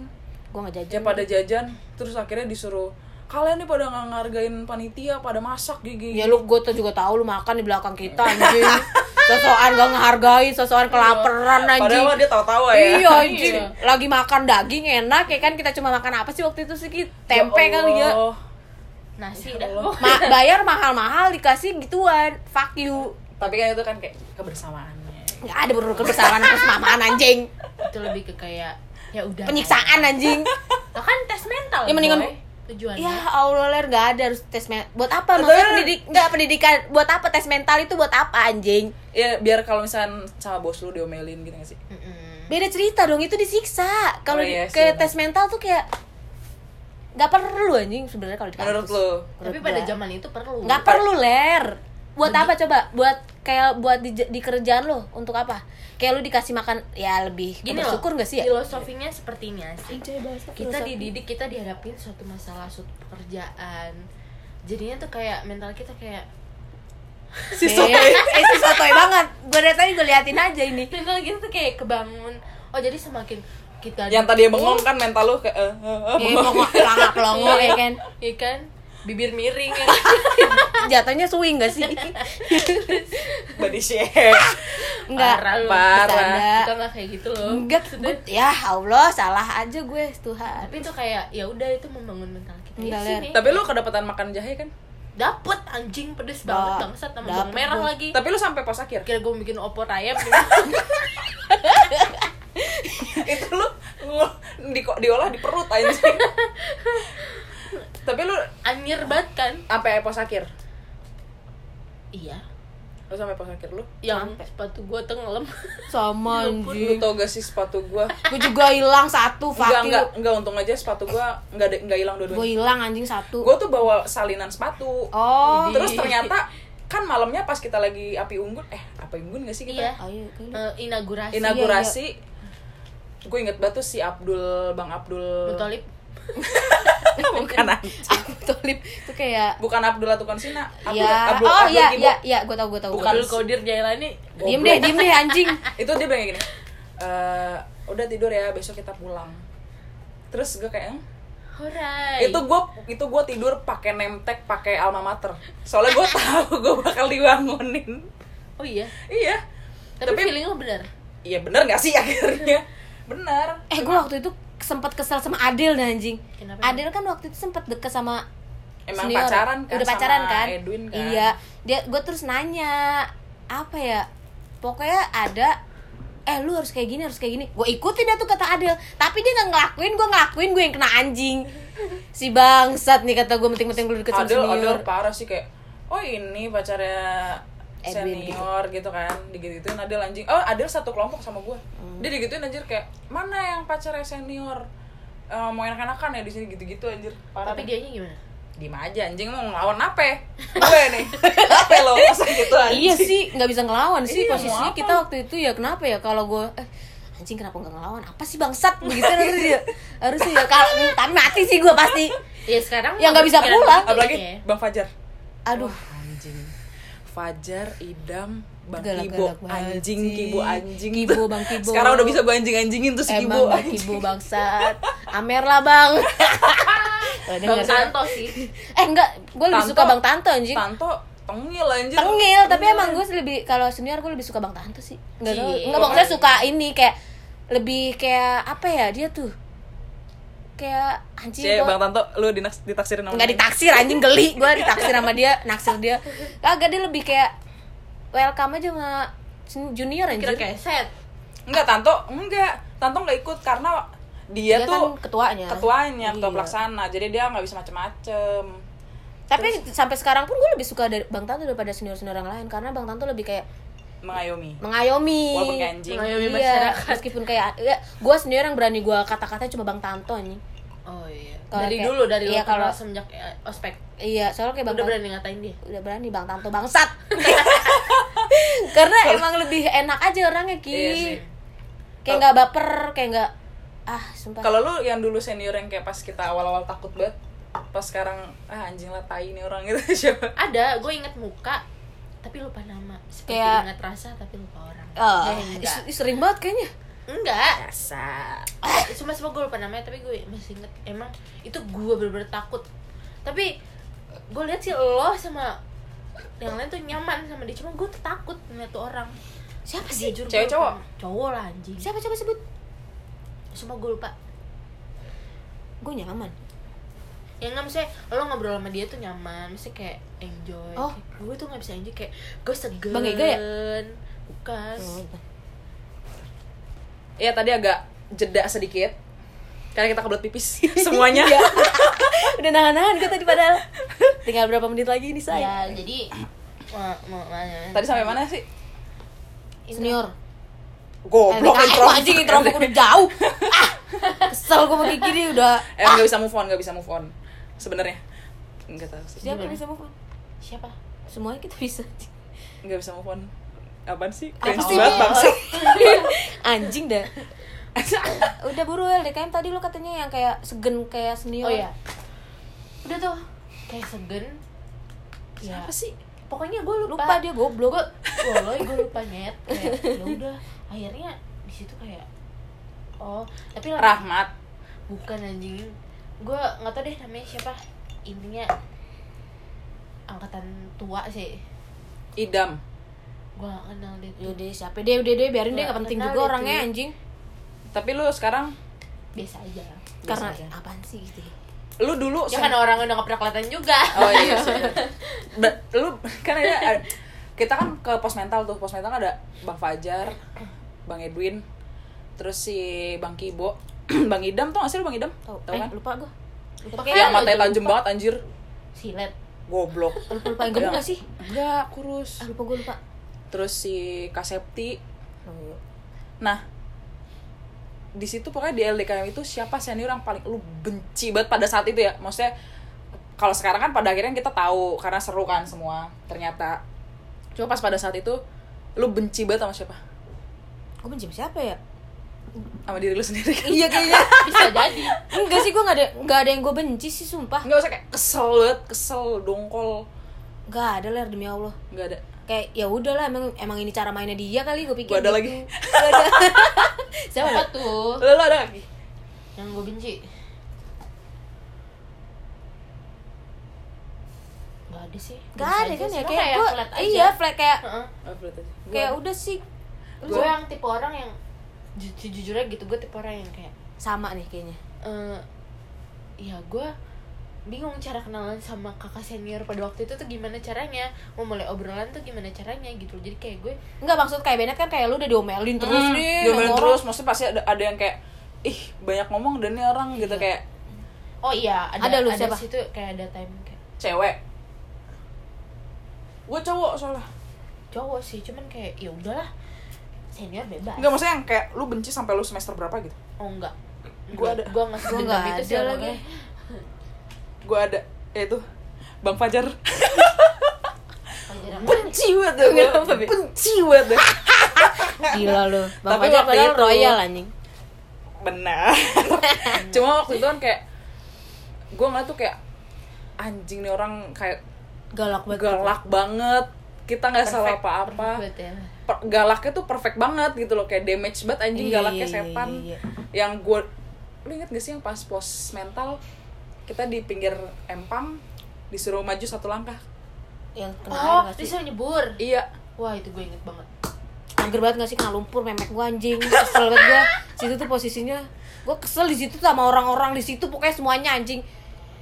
Speaker 2: Gua enggak jajan.
Speaker 4: Ya pada jajan, terus akhirnya disuruh kalian nih pada nggak ngargain panitia, pada masak gigi.
Speaker 2: Ya lu gue tuh juga tahu lu makan di belakang kita
Speaker 4: Iya.
Speaker 2: anjing. Sosokan gak ngehargain, sosokan kelaparan anjing.
Speaker 4: Padahal dia tahu-tahu ya.
Speaker 2: Iya anjing. Lagi makan daging enak ya kan kita cuma makan apa sih waktu itu sih Ki? tempe kali ya.
Speaker 4: Allah.
Speaker 1: nasi
Speaker 4: Ya
Speaker 1: dah
Speaker 4: Allah.
Speaker 2: Ma- bayar mahal-mahal dikasih gituan. Fuck you.
Speaker 4: Tapi kan itu kan kayak kebersamaannya.
Speaker 2: Gak ada bener kebesaran kesemaan anjing.
Speaker 1: itu lebih ke kayak ya udah
Speaker 2: Penyiksaan anjing.
Speaker 1: Lah kan tes mental
Speaker 2: Ya, mendingan-
Speaker 1: boy. tujuannya
Speaker 2: Ya Allah ler gak ada harus tes mental. Buat apa? Maksudnya pendidik nggak pendidikan. Buat apa tes mental itu buat apa anjing?
Speaker 4: Ya biar kalau misalkan sama bos lu diomelin gitu gak sih?
Speaker 1: Mm-mm.
Speaker 2: beda cerita dong itu disiksa kalau
Speaker 4: Oh, iya
Speaker 2: di-
Speaker 4: sih,
Speaker 2: ke
Speaker 4: bener.
Speaker 2: tes mental tuh kayak nggak perlu anjing sebenarnya kalau di kampus
Speaker 4: Menurut lu?
Speaker 1: tapi pada
Speaker 2: gua.
Speaker 1: zaman itu perlu
Speaker 2: nggak perlu ler buat apa coba buat kayak buat di, di kerjaan lo untuk apa kayak lu dikasih makan ya lebih
Speaker 1: gini loh
Speaker 2: bersyukur nggak sih ya
Speaker 1: filosofinya seperti ini asik kita dididik kita dihadapin suatu masalah suatu pekerjaan jadinya tuh kayak mental kita kayak
Speaker 4: Si
Speaker 2: eh,
Speaker 4: Soe.
Speaker 2: eh, si sotoy banget gue dari tadi gue liatin aja ini
Speaker 1: mental kita tuh kayak kebangun oh jadi semakin kita
Speaker 4: Yang tadi bengong kan mental lu kayak eh, eh, eh,
Speaker 2: Eh, mau pelangak pelongo ya kan
Speaker 1: Iya kan bibir miring ya kan?
Speaker 2: jatuhnya swing gak sih
Speaker 4: body shape.
Speaker 2: nggak
Speaker 1: Parah lu.
Speaker 4: Parah.
Speaker 2: Enggak.
Speaker 1: kita nggak kayak gitu loh
Speaker 2: enggak
Speaker 1: Maksudnya,
Speaker 2: ya Allah salah aja gue Tuhan
Speaker 1: tapi itu kayak ya udah itu membangun mental kita
Speaker 2: Enggak,
Speaker 1: Isi
Speaker 2: Ler.
Speaker 1: nih.
Speaker 4: Tapi lu kedapetan makan jahe kan?
Speaker 1: dapet anjing pedes banget
Speaker 2: Ba-
Speaker 1: bangsat sama bawang
Speaker 2: Oh, dapet
Speaker 1: merah
Speaker 2: gua.
Speaker 1: lagi
Speaker 4: Tapi lu sampai pos akhir.
Speaker 1: kira gue bikin opor ayam gitu.
Speaker 4: itu lu ngul- di diolah di perut anjing. Tapi lu
Speaker 1: anjir banget kan
Speaker 4: sampai pos akhir.
Speaker 1: iya
Speaker 4: Lu sampai pos akhir lu.
Speaker 1: yang sepatu gue tenggelam
Speaker 2: sama
Speaker 4: Ya Lu
Speaker 2: anjing
Speaker 4: tau gak sih sepatu gua?
Speaker 2: gue juga hilang satu
Speaker 4: Enggak,
Speaker 2: Iya. fuck
Speaker 4: enggak, enggak untung aja sepatu gua enggak ada- enggak hilang
Speaker 2: gue
Speaker 4: dua-duanya.
Speaker 2: hilang anjing satu
Speaker 4: Gua tuh bawa salinan sepatu.
Speaker 2: oh
Speaker 4: Terus ternyata kan malamnya pas kita lagi api unggun, eh api unggun gak sih kita?
Speaker 1: Iya.
Speaker 2: Ayo, kayaknya.
Speaker 1: Eh, inaugurasi
Speaker 2: Ina-
Speaker 4: Inaugurasi.
Speaker 2: iya.
Speaker 4: Gue inget banget tuh si Abdul, Bang Abdul.
Speaker 1: Mutolib
Speaker 4: Bukan anjing.
Speaker 2: Abu Talib itu kayak
Speaker 4: Bukan Abdul Latukon Sina. Abdul,
Speaker 2: ya
Speaker 4: Abdul,
Speaker 2: oh
Speaker 4: Abdul
Speaker 2: ya
Speaker 4: Gibo.
Speaker 2: ya ya gue tau gue tau
Speaker 4: Bukan.
Speaker 1: Abdul Kodir Jailani
Speaker 2: diem deh diem deh anjing
Speaker 4: itu dia bilang kayak gini "Eh, udah tidur ya besok kita pulang terus gue kayak "Hmm?"
Speaker 2: Iya.
Speaker 1: Horai
Speaker 4: itu gue itu gue tidur pakai nemtek pakai alma mater soalnya gue tahu gue bakal dibangunin
Speaker 1: Oh iya
Speaker 4: iya
Speaker 1: Tapi,
Speaker 4: Tapi-
Speaker 1: feeling lo bener
Speaker 4: iya bener gak sih akhirnya bener
Speaker 2: eh gue waktu itu sempat kesel sama Adil nih anjing
Speaker 1: Kenapa?
Speaker 2: Adil kan waktu itu sempat deket sama
Speaker 4: emang
Speaker 2: senior.
Speaker 4: pacaran kan
Speaker 2: udah
Speaker 4: sama
Speaker 2: pacaran kan
Speaker 4: Edwin kan
Speaker 2: iya dia gue terus nanya apa ya pokoknya ada eh lu harus kayak gini harus kayak gini gue ikutin dah tuh kata Adel tapi dia nggak ngelakuin gue ngelakuin gue yang kena anjing si bangsat nih kata gue meting-meting lu deket sama
Speaker 4: Adel, Adel
Speaker 2: senior
Speaker 4: parah sih kayak oh ini pacarnya
Speaker 2: Edwin
Speaker 4: senior gitu kan digituin Adel anjing oh Adel satu kelompok sama gue dia digituin anjir kayak mana yang pacarnya senior Eh, mau enak-enakan ya di sini gitu-gitu anjir parah
Speaker 1: tapi
Speaker 4: deh.
Speaker 1: dianya gimana
Speaker 4: diem aja anjing mau ngelawan apa gue nih apa lo masa gitu anjing
Speaker 2: iya sih nggak bisa ngelawan sih
Speaker 4: Iya, mau
Speaker 2: posisinya
Speaker 4: apa?
Speaker 2: kita waktu itu ya kenapa ya kalau gue eh, anjing kenapa nggak ngelawan apa sih bangsat begitu harusnya dia harusnya ya kalau tapi mati sih gue pasti
Speaker 1: ya sekarang
Speaker 2: Ya, nggak bisa
Speaker 1: pikiran
Speaker 2: pulang.
Speaker 1: begitu
Speaker 4: apalagi
Speaker 1: ya.
Speaker 4: Bang Fajar
Speaker 2: aduh
Speaker 4: anjing Fajar Idam Bang
Speaker 2: Galak-galak
Speaker 4: Kibo
Speaker 2: banget
Speaker 4: anjing
Speaker 2: sih.
Speaker 4: Kibo anjing
Speaker 2: Kibo, Bang Kibo.
Speaker 4: sekarang udah bisa gue anjing anjingin tuh si
Speaker 2: emang
Speaker 4: Kibo
Speaker 2: bang
Speaker 4: anjing.
Speaker 2: kibo bangsat amer lah bang Kalau denger.
Speaker 1: bang Santo sih
Speaker 2: eh enggak gue lebih
Speaker 4: Tanto.
Speaker 2: suka bang tanto anjing
Speaker 4: Tanto tengil anjir
Speaker 2: tengil Iya. tapi emang gue lebih kalau senior gue lebih suka bang tanto sih nggak tahu
Speaker 1: Cie.
Speaker 2: nggak maksudnya suka ini kayak lebih kayak apa ya dia tuh kayak anjing
Speaker 4: Cie,
Speaker 2: gua-
Speaker 4: Bang Tanto lu dinaks- ditaksirin sama
Speaker 2: nggak ditaksir anjing geli gue ditaksir sama dia naksir dia kagak dia lebih kayak welcome aja sama sen- junior anjir
Speaker 1: kira kayak set
Speaker 4: Enggak Tanto, enggak Tanto nggak ikut karena
Speaker 2: Dia
Speaker 4: dia, tuh
Speaker 2: kan ketuanya.
Speaker 4: ketuanya,
Speaker 2: Iya.
Speaker 4: ketua pelaksana jadi dia nggak bisa macem-macem
Speaker 2: tapi sampai sekarang pun gue lebih suka dari bang tanto daripada senior senior yang lain karena bang tanto lebih kayak
Speaker 4: mengayomi
Speaker 2: mengayomi
Speaker 4: Walaupun kayak anjing.
Speaker 1: Mengayomi
Speaker 2: Iya,
Speaker 1: masyarakat.
Speaker 2: meskipun kayak ya, gue sendiri yang berani gue kata-katanya cuma bang Tanto nih
Speaker 1: oh iya
Speaker 2: Kalau
Speaker 1: dari
Speaker 2: kayak-
Speaker 1: dulu dari
Speaker 2: iya,
Speaker 1: lu kenal
Speaker 2: kalau-
Speaker 1: semenjak eh, ospek
Speaker 2: iya soalnya kayak bang
Speaker 1: udah
Speaker 2: Tan-
Speaker 1: berani ngatain dia
Speaker 2: udah berani bang Tanto bangsat karena emang lebih enak aja orangnya ki
Speaker 4: Iya sih.
Speaker 2: kayak nggak baper kayak nggak ah sumpah
Speaker 4: Kalau lu yang dulu senior yang kayak pas kita awal-awal takut banget, pas sekarang ah anjing lah tai nih orang gitu siapa?
Speaker 1: ada gue inget muka tapi lupa nama seperti
Speaker 2: Kayak-
Speaker 1: ingat rasa tapi lupa orang
Speaker 2: Ah,
Speaker 1: Eh, enggak
Speaker 2: is- is- sering banget kayaknya
Speaker 1: enggak
Speaker 4: Biasa.
Speaker 1: cuma semua gue lupa namanya tapi gue masih inget emang itu gue bener-bener takut tapi gue lihat sih lo sama yang lain tuh nyaman sama dia cuma gue tuh takut ngeliat tuh orang
Speaker 2: siapa sih
Speaker 1: jujur
Speaker 4: Cewek
Speaker 1: gue-
Speaker 4: cowok?
Speaker 1: cowok lah anjing
Speaker 2: siapa coba sebut
Speaker 1: cuma gue lupa
Speaker 2: gue nyaman
Speaker 1: ya nggak maksudnya lo ngobrol sama dia tuh nyaman maksudnya kayak enjoy
Speaker 2: Oh.
Speaker 1: Kayak gue tuh nggak bisa enjoy kayak gue segen
Speaker 2: Bang Ega ya?
Speaker 1: bukan
Speaker 2: Oh,
Speaker 4: Iya tadi agak jeda sedikit karena kita kebelet pipis semuanya.
Speaker 2: Iya. udah nahan-nahan gue tadi padahal tinggal berapa menit lagi nih
Speaker 1: ya
Speaker 2: saya
Speaker 1: jadi mau mau mana
Speaker 4: Tadi sampai mana sih?
Speaker 2: senior
Speaker 4: Goblok
Speaker 2: Eh,
Speaker 4: intro.
Speaker 2: anjing intro aku udah jauh ah kesel gue pakai gini udah
Speaker 4: Eh nggak bisa move on, nggak bisa move on. Sebenarnya nggak tahu sih.
Speaker 2: siapa bisa move on
Speaker 1: siapa
Speaker 2: semuanya kita bisa anjing.
Speaker 4: Nggak bisa move on. Apaan sih?
Speaker 2: Apa
Speaker 4: Cringe
Speaker 2: sih,
Speaker 4: banget
Speaker 2: Bi?
Speaker 4: bangsa.
Speaker 2: anjing dah udah buru LDKM tadi lu katanya yang kayak segen kayak
Speaker 1: oh
Speaker 2: senior
Speaker 1: ya udah tuh kayak segen ya
Speaker 4: Apa sih?
Speaker 1: pokoknya gue lupa,
Speaker 2: Iya. lupa dia goblok
Speaker 1: gue waloy gue lupa nyet kayak ya udah akhirnya di situ kayak oh tapi lah
Speaker 4: Rahmat.
Speaker 1: bukan anjing gue nggak tau deh namanya siapa intinya angkatan tua sih
Speaker 4: Idam.
Speaker 1: gue gak kenal dia tuh
Speaker 2: Yaudah siapa Iya deh, udah deh biarin deh
Speaker 1: Nggak
Speaker 2: gak penting
Speaker 1: kenal
Speaker 2: juga
Speaker 1: deh,
Speaker 2: orangnya
Speaker 1: cuy.
Speaker 2: anjing
Speaker 4: Tapi lu sekarang
Speaker 1: biasa aja
Speaker 2: Karena
Speaker 4: aja.
Speaker 2: apaan sih gitu ya?
Speaker 4: lu dulu
Speaker 1: ya kan orang udah gak pernah kelihatan juga
Speaker 4: Oh iya sih. Ba- lu kan ada kita kan ke pos mental tuh. Pos mental kan ada Bang Fajar, Bang Edwin, terus si Bang Kibo, Bang Idam tuh gak sih lu Bang Idam?
Speaker 2: Tau,
Speaker 4: Tau
Speaker 2: eh,
Speaker 4: kan?
Speaker 2: lupa gue
Speaker 1: lupa
Speaker 2: iya,
Speaker 4: Yang
Speaker 1: kan?
Speaker 4: matanya tajam banget anjir.
Speaker 1: silet
Speaker 4: Goblok.
Speaker 2: Lupa lupa
Speaker 4: Iya.
Speaker 2: yang gemuk gak sih?
Speaker 4: Enggak, kurus.
Speaker 2: Ah lupa gue lupa
Speaker 4: Terus si Kasepti.
Speaker 2: Hmm.
Speaker 4: Nah, di situ pokoknya di LDKM itu siapa senior yang paling lu benci banget pada saat itu ya? Maksudnya kalau sekarang kan pada akhirnya kita tahu karena seru kan semua ternyata. Cuma pas pada saat itu lu benci banget sama siapa?
Speaker 2: Gue benci sama siapa ya?
Speaker 4: Sama diri lu sendiri. kan?
Speaker 2: Iya kayaknya
Speaker 1: bisa jadi
Speaker 2: Enggak sih gue gak ada, gak ada yang gue benci sih sumpah
Speaker 4: Enggak usah kayak kesel banget, kesel, dongkol,
Speaker 2: Gak ada ler demi Allah
Speaker 4: nggak ada.
Speaker 2: kayak ya udahlah emang emang ini cara mainnya dia kali gue pikir
Speaker 4: Gua ada
Speaker 2: gitu. Oh.
Speaker 4: lagi.
Speaker 2: Gua ada. siapa ya?
Speaker 1: apa tuh
Speaker 4: Lu, lu ada lagi?
Speaker 1: yang gue benci nggak ada sih
Speaker 2: gak
Speaker 1: Biasa
Speaker 2: ada
Speaker 1: aja.
Speaker 2: kan ya
Speaker 1: Semua
Speaker 2: kayak gue
Speaker 1: flat aja.
Speaker 2: iya flat kayak
Speaker 1: Heeh.
Speaker 4: Oh, berat aja. Gua
Speaker 2: kayak
Speaker 4: ada.
Speaker 2: udah sih
Speaker 1: gue yang tipe orang yang ju- jujurnya gitu gue tipe orang yang kayak
Speaker 2: sama nih kayaknya
Speaker 1: eh ya gue bingung cara kenalan sama kakak senior pada waktu itu tuh gimana caranya mau mulai obrolan tuh gimana caranya gitu jadi kayak gue
Speaker 2: Enggak maksud kayak Bennett kan kayak lu udah diomelin terus
Speaker 4: Hmm,
Speaker 2: nih.
Speaker 4: diomelin
Speaker 2: sama
Speaker 4: terus maksudnya pasti ada, ada yang kayak ih banyak ngomong dan ini orang
Speaker 2: Iya.
Speaker 4: gitu kayak
Speaker 1: oh iya ada
Speaker 2: Ada lu
Speaker 1: ada
Speaker 2: siapa?
Speaker 1: situ kayak ada time kayak
Speaker 4: cewek gue cowok soalnya
Speaker 1: cowok sih cuman kayak ya udahlah senior bebas
Speaker 4: Enggak maksudnya yang kayak lu benci sampai lu semester berapa gitu
Speaker 1: oh enggak
Speaker 4: Gua ada.
Speaker 1: gue nggak
Speaker 2: Gua
Speaker 1: sedendam
Speaker 2: nggak
Speaker 1: itu sih
Speaker 2: ada
Speaker 1: sama
Speaker 2: lagi.
Speaker 1: gue.
Speaker 4: gue ada ya itu Bang Fajar
Speaker 1: Pelajaran mana?
Speaker 4: benci banget deh gua.
Speaker 2: Kenapa, Bi?
Speaker 4: benci banget deh
Speaker 2: orang. Gila lu. Bang
Speaker 4: Tapi
Speaker 2: Fajar
Speaker 4: waktu
Speaker 2: padahal
Speaker 4: itu-
Speaker 2: royal anjing.
Speaker 4: benar cuma waktu itu kan kayak gue ngeliat tuh kayak anjing nih orang kayak
Speaker 2: Galak banget.
Speaker 4: galak banget kita nggak salah
Speaker 1: Perfect, perfect
Speaker 4: apa-apa
Speaker 1: banget ya.
Speaker 4: Per- galaknya tuh perfect banget gitu loh kayak damage banget anjing
Speaker 2: Iya,
Speaker 4: galaknya
Speaker 2: iya,
Speaker 4: setan
Speaker 2: iya, iya.
Speaker 4: yang gue lu inget gak sih yang pas pos mental kita di pinggir empang disuruh maju satu langkah
Speaker 2: Yang kena air
Speaker 1: oh
Speaker 2: nggak sih?
Speaker 1: disuruh nyebur
Speaker 4: iya
Speaker 1: wah itu gue inget banget
Speaker 2: Mager banget gak sih kena lumpur memek gua anjing. Kesel banget gua. Situ tuh posisinya gua kesel di situ sama orang-orang di situ pokoknya semuanya anjing.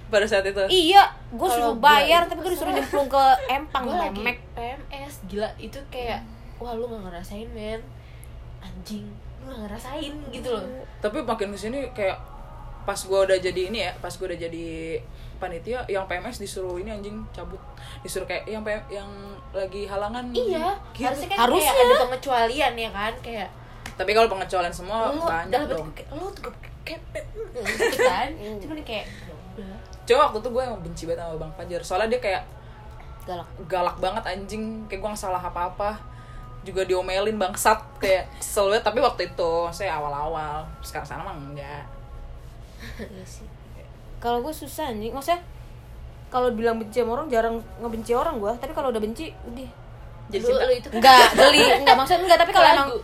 Speaker 4: pada saat itu
Speaker 2: Iya, gua
Speaker 1: Kalau
Speaker 2: suruh
Speaker 1: gua
Speaker 2: bayar
Speaker 1: itu
Speaker 2: tapi gua disuruh
Speaker 1: kesel.
Speaker 2: nyemplung ke empang
Speaker 1: gue lagi
Speaker 2: memek.
Speaker 1: PMS gila itu kayak wah lu nggak ngerasain men anjing lu nggak ngerasain gitu loh
Speaker 2: Hmm.
Speaker 4: tapi makin kesini kayak pas gue udah jadi ini ya pas gue udah jadi panitia yang PMS disuruh ini anjing cabut disuruh kayak yang PM, yang lagi halangan
Speaker 1: iya
Speaker 4: gitu.
Speaker 1: harusnya kan
Speaker 2: Harusnya.
Speaker 1: kayak ada pengecualian ya kan kayak
Speaker 4: tapi kalau pengecualian
Speaker 2: Oh,
Speaker 4: semua
Speaker 1: lu
Speaker 4: banyak
Speaker 1: dalam bentuk
Speaker 4: dong
Speaker 1: kayak, lu tuh kayak gitu kan
Speaker 2: Hmm.
Speaker 1: cuman kayak ya udah
Speaker 4: Coba waktu itu gue emang benci banget sama Bang Fajar Soalnya dia kayak
Speaker 2: Galak.
Speaker 4: galak banget anjing Kayak gue gak salah apa-apa Juga diomelin bangsat Kayak kesel banget Tapi waktu itu saya awal-awal Sekarang sana mah enggak
Speaker 2: Iya sih. Kalau gue susah anjing, maksudnya kalau bilang benci sama orang jarang ngebenci orang gue, tapi kalau udah benci udah
Speaker 4: Jadi
Speaker 1: Lu-
Speaker 4: cinta
Speaker 1: lu itu kan
Speaker 2: enggak geli, enggak maksudnya enggak, tapi kalau emang
Speaker 1: Lagu.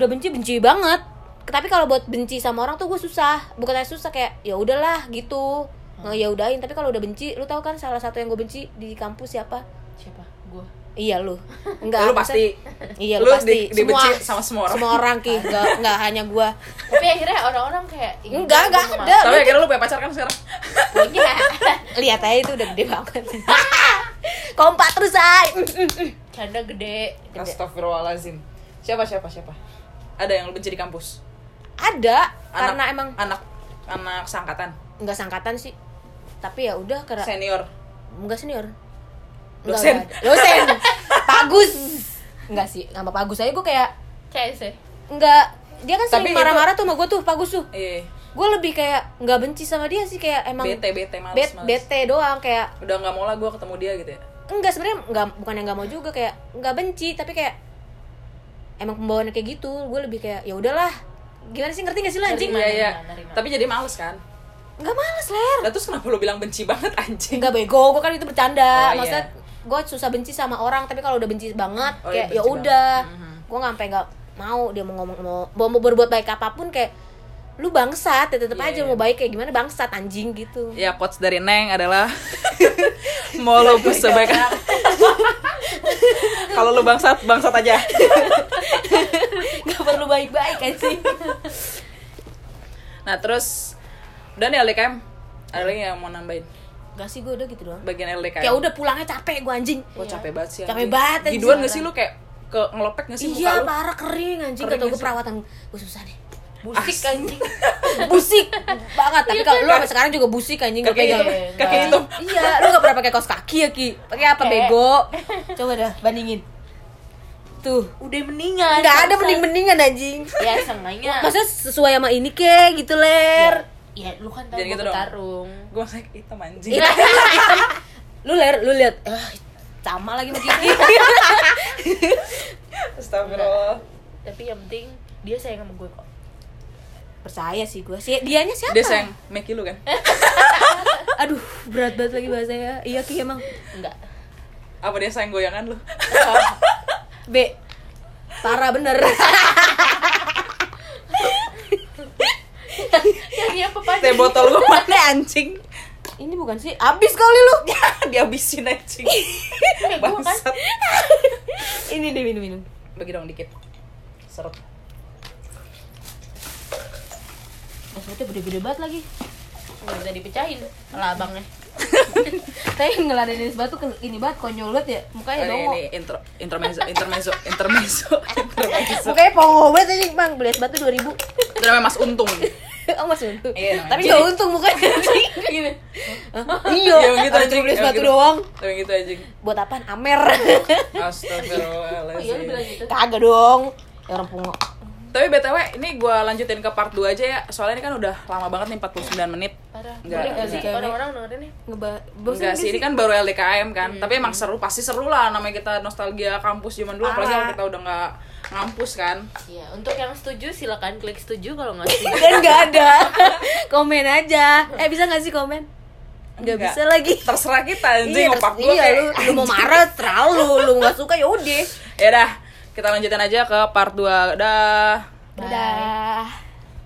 Speaker 2: udah benci benci banget. Tapi kalau buat benci sama orang tuh gue susah, bukan hanya susah kayak ya udahlah gitu.
Speaker 4: Hmm.
Speaker 2: Ngeyaudahin, tapi kalau udah benci, lu tahu kan salah satu yang gue benci di kampus siapa?
Speaker 1: siapa gue
Speaker 2: Iya lu. Enggak.
Speaker 4: Lu pasti
Speaker 2: Iya
Speaker 4: Lu
Speaker 2: lu, pasti.
Speaker 4: di- dibenci sama semua orang.
Speaker 2: Semua orang ki, enggak enggak hanya gue.
Speaker 1: tapi akhirnya orang-orang kayak "Ih,
Speaker 2: Enggak,
Speaker 1: gua
Speaker 2: enggak
Speaker 1: mau
Speaker 2: ada.
Speaker 4: Tapi akhirnya lu punya pacar kan sekarang
Speaker 1: punya
Speaker 2: Lihat aja itu udah gede banget. Kompak terus ay.
Speaker 1: canda gede
Speaker 4: Astagfirullahaladzim Siapa, siapa, siapa? Ada yang lu benci di kampus?
Speaker 2: ada
Speaker 4: Anak-
Speaker 2: karena emang
Speaker 4: Anak anak sangkatan
Speaker 2: nggak sangkatan sih tapi ya udah karena
Speaker 4: Senior
Speaker 2: nggak senior Nggak,
Speaker 4: Dosen.
Speaker 2: nggak ada. dosen pagus nggak sih nggak sama pagus aja gue kayak
Speaker 1: CS ya
Speaker 2: nggak dia kan
Speaker 4: Tapi
Speaker 2: sering
Speaker 4: itu-
Speaker 2: marah-marah tuh sama gue tuh pagus tuh
Speaker 4: Iya
Speaker 2: gue lebih kayak nggak benci sama dia sih kayak emang
Speaker 4: Bete, bete, males,
Speaker 2: bet-
Speaker 4: males.
Speaker 2: bete doang kayak
Speaker 4: Udah gak mau lah gue ketemu dia gitu ya
Speaker 2: enggak sebenarnya nggak bukan yang nggak mau juga kayak nggak benci tapi kayak emang pembawaannya kayak gitu gue lebih kayak ya udahlah gimana sih ngerti gak sih lo anjing
Speaker 1: Nerima,
Speaker 4: Iya, iya
Speaker 1: nerima, nerima.
Speaker 4: Tapi jadi males kan?
Speaker 2: nggak males ler
Speaker 4: Lah terus kenapa lu bilang benci banget anjing?
Speaker 2: Enggak bego, gue kan itu bercanda.
Speaker 4: Oh,
Speaker 2: Maksudnya
Speaker 4: iya.
Speaker 2: gue susah benci sama orang, tapi kalau udah benci banget
Speaker 4: Oh, iya,
Speaker 2: kayak
Speaker 4: benci
Speaker 2: ya
Speaker 4: banget.
Speaker 2: udah.
Speaker 4: Mhm.
Speaker 2: Gue nggak sampai nggak mau dia mau ngomong mau, mau, mau berbuat baik apapun kayak lu bangsat ya tetep
Speaker 4: Iya,
Speaker 2: aja
Speaker 4: iya.
Speaker 2: mau baik kayak gimana bangsat anjing gitu.
Speaker 4: Ya quotes dari Neng adalah Mau lo bus sebaik Kalau lo bangsat, bangsat aja
Speaker 2: Gak perlu baik-baik kan sih.
Speaker 4: Nah terus Udah nih LDKM Ada lagi yang mau nambahin
Speaker 2: Gak sih gue udah gitu doang.
Speaker 4: Bagian LDKM
Speaker 2: Ya udah pulangnya capek gue anjing.
Speaker 4: Wah capek banget sih
Speaker 2: Capek
Speaker 4: anjing.
Speaker 2: banget, anjing.
Speaker 4: Giduan gak sih lu kayak ke ngelopek gak sih
Speaker 2: Iya
Speaker 4: muka lu?
Speaker 2: parah kering anjing
Speaker 4: Kering
Speaker 2: kata
Speaker 4: ya
Speaker 2: gue
Speaker 4: sih.
Speaker 2: perawatan gue susah deh.
Speaker 1: musik anjing
Speaker 2: Busik banget tapi
Speaker 4: Iya kan?
Speaker 2: kalau lu sampai sekarang juga busik anjing gue
Speaker 4: Kaki
Speaker 2: pegang.
Speaker 4: hitam, kaki hitam
Speaker 2: Iya, lu gak pernah pakai kaos kaki ya Ki? Pakai apa
Speaker 1: Pakai.
Speaker 2: bego? Coba dah bandingin. Tuh.
Speaker 1: udah mendingan
Speaker 2: Gak ada
Speaker 1: bangsat.
Speaker 2: mending-mendingan anjing.
Speaker 1: ya sengaja
Speaker 2: Maksudnya sesuai sama ini ke gitu ler.
Speaker 1: ya lu kan tau
Speaker 4: Jangan
Speaker 1: gue
Speaker 4: gitu dong.
Speaker 1: tarung
Speaker 4: Gue masih hitam anjing
Speaker 2: Itu hitam. Iya. Lu ler, lu lihat. Eh, sama lagi sama Kiki.
Speaker 4: Astagfirullah
Speaker 1: tapi yang penting dia sayang sama gue kok
Speaker 2: Percaya sih gua sih. Dianya siapa?
Speaker 4: Dia sayang Meki lu kan?
Speaker 2: Aduh, berat banget lagi bahasanya. Iya Ki emang.
Speaker 1: enggak
Speaker 4: Apa dia sayang goyangan lu?
Speaker 2: B. Parah bener.
Speaker 1: yang dia Ya, iya, apa
Speaker 4: Teh botol gue mana anjing?
Speaker 2: ini bukan sih. Abis kali lu.
Speaker 4: Dihabisin anjing
Speaker 2: Iya,
Speaker 4: Bangsat
Speaker 2: ini deh minum-minum.
Speaker 4: Bagi dong dikit Serut
Speaker 2: Maksudnya gede-gede banget lagi.
Speaker 1: kan nggak bisa dipecahin lah abangnya
Speaker 2: Tapi ngeladenin sebatu ke- ini banget konyolut ya mukanya
Speaker 4: Ini,
Speaker 2: dongo.
Speaker 4: ini intro, intermezzo, intermezzo, intermezzo, intermezzo.
Speaker 2: Mukanya pongo banget aja bang beli es batu 2000
Speaker 4: Itu namanya Mas Untung.
Speaker 2: Oh mas untung
Speaker 4: Iya,
Speaker 2: Tapi
Speaker 4: jadi-
Speaker 2: gak untung mukanya
Speaker 1: gitu
Speaker 2: Hah? Iya
Speaker 4: Yang gitu
Speaker 2: Orang
Speaker 4: anjing,
Speaker 2: cuma beli es
Speaker 4: yang
Speaker 2: batu
Speaker 4: gitu.
Speaker 2: doang
Speaker 4: Tapi gitu anjing.
Speaker 2: Buat apaan? Amer Iya,
Speaker 1: oh iya lu bilang
Speaker 4: Astagfirullahaladzim.
Speaker 1: gitu
Speaker 2: Kagak dong Ya orang pongo
Speaker 4: Tapi BTW, ini gue lanjutin ke part 2 aja ya. Soalnya ini kan udah lama banget nih, 49 menit.
Speaker 1: parah
Speaker 4: Nggak,
Speaker 1: boleh nggak sih
Speaker 2: nggak.
Speaker 1: orang-orang dengerin ya. nih
Speaker 2: Ngeba
Speaker 4: Enggak sih, ini kan baru LDKM kan.
Speaker 2: Hmm.
Speaker 4: Tapi emang seru, pasti seru lah namanya kita nostalgia kampus zaman dulu. Apalagi kalau kita udah nggak ngampus kan.
Speaker 1: Iya, untuk yang setuju silakan klik setuju kalau nggak setuju.
Speaker 2: Dan gak ada Komen aja Eh bisa gak sih komen? Gak
Speaker 4: Enggak.
Speaker 2: bisa lagi
Speaker 4: Terserah kita anjing,
Speaker 2: terus-
Speaker 4: opak gue
Speaker 2: iya,
Speaker 4: kayak
Speaker 2: lu, lu mau marah terlalu lu, lu gak suka yaudah
Speaker 4: Ya udah, kita lanjutin aja ke part 2. Dah.
Speaker 1: Bye.
Speaker 2: Dadah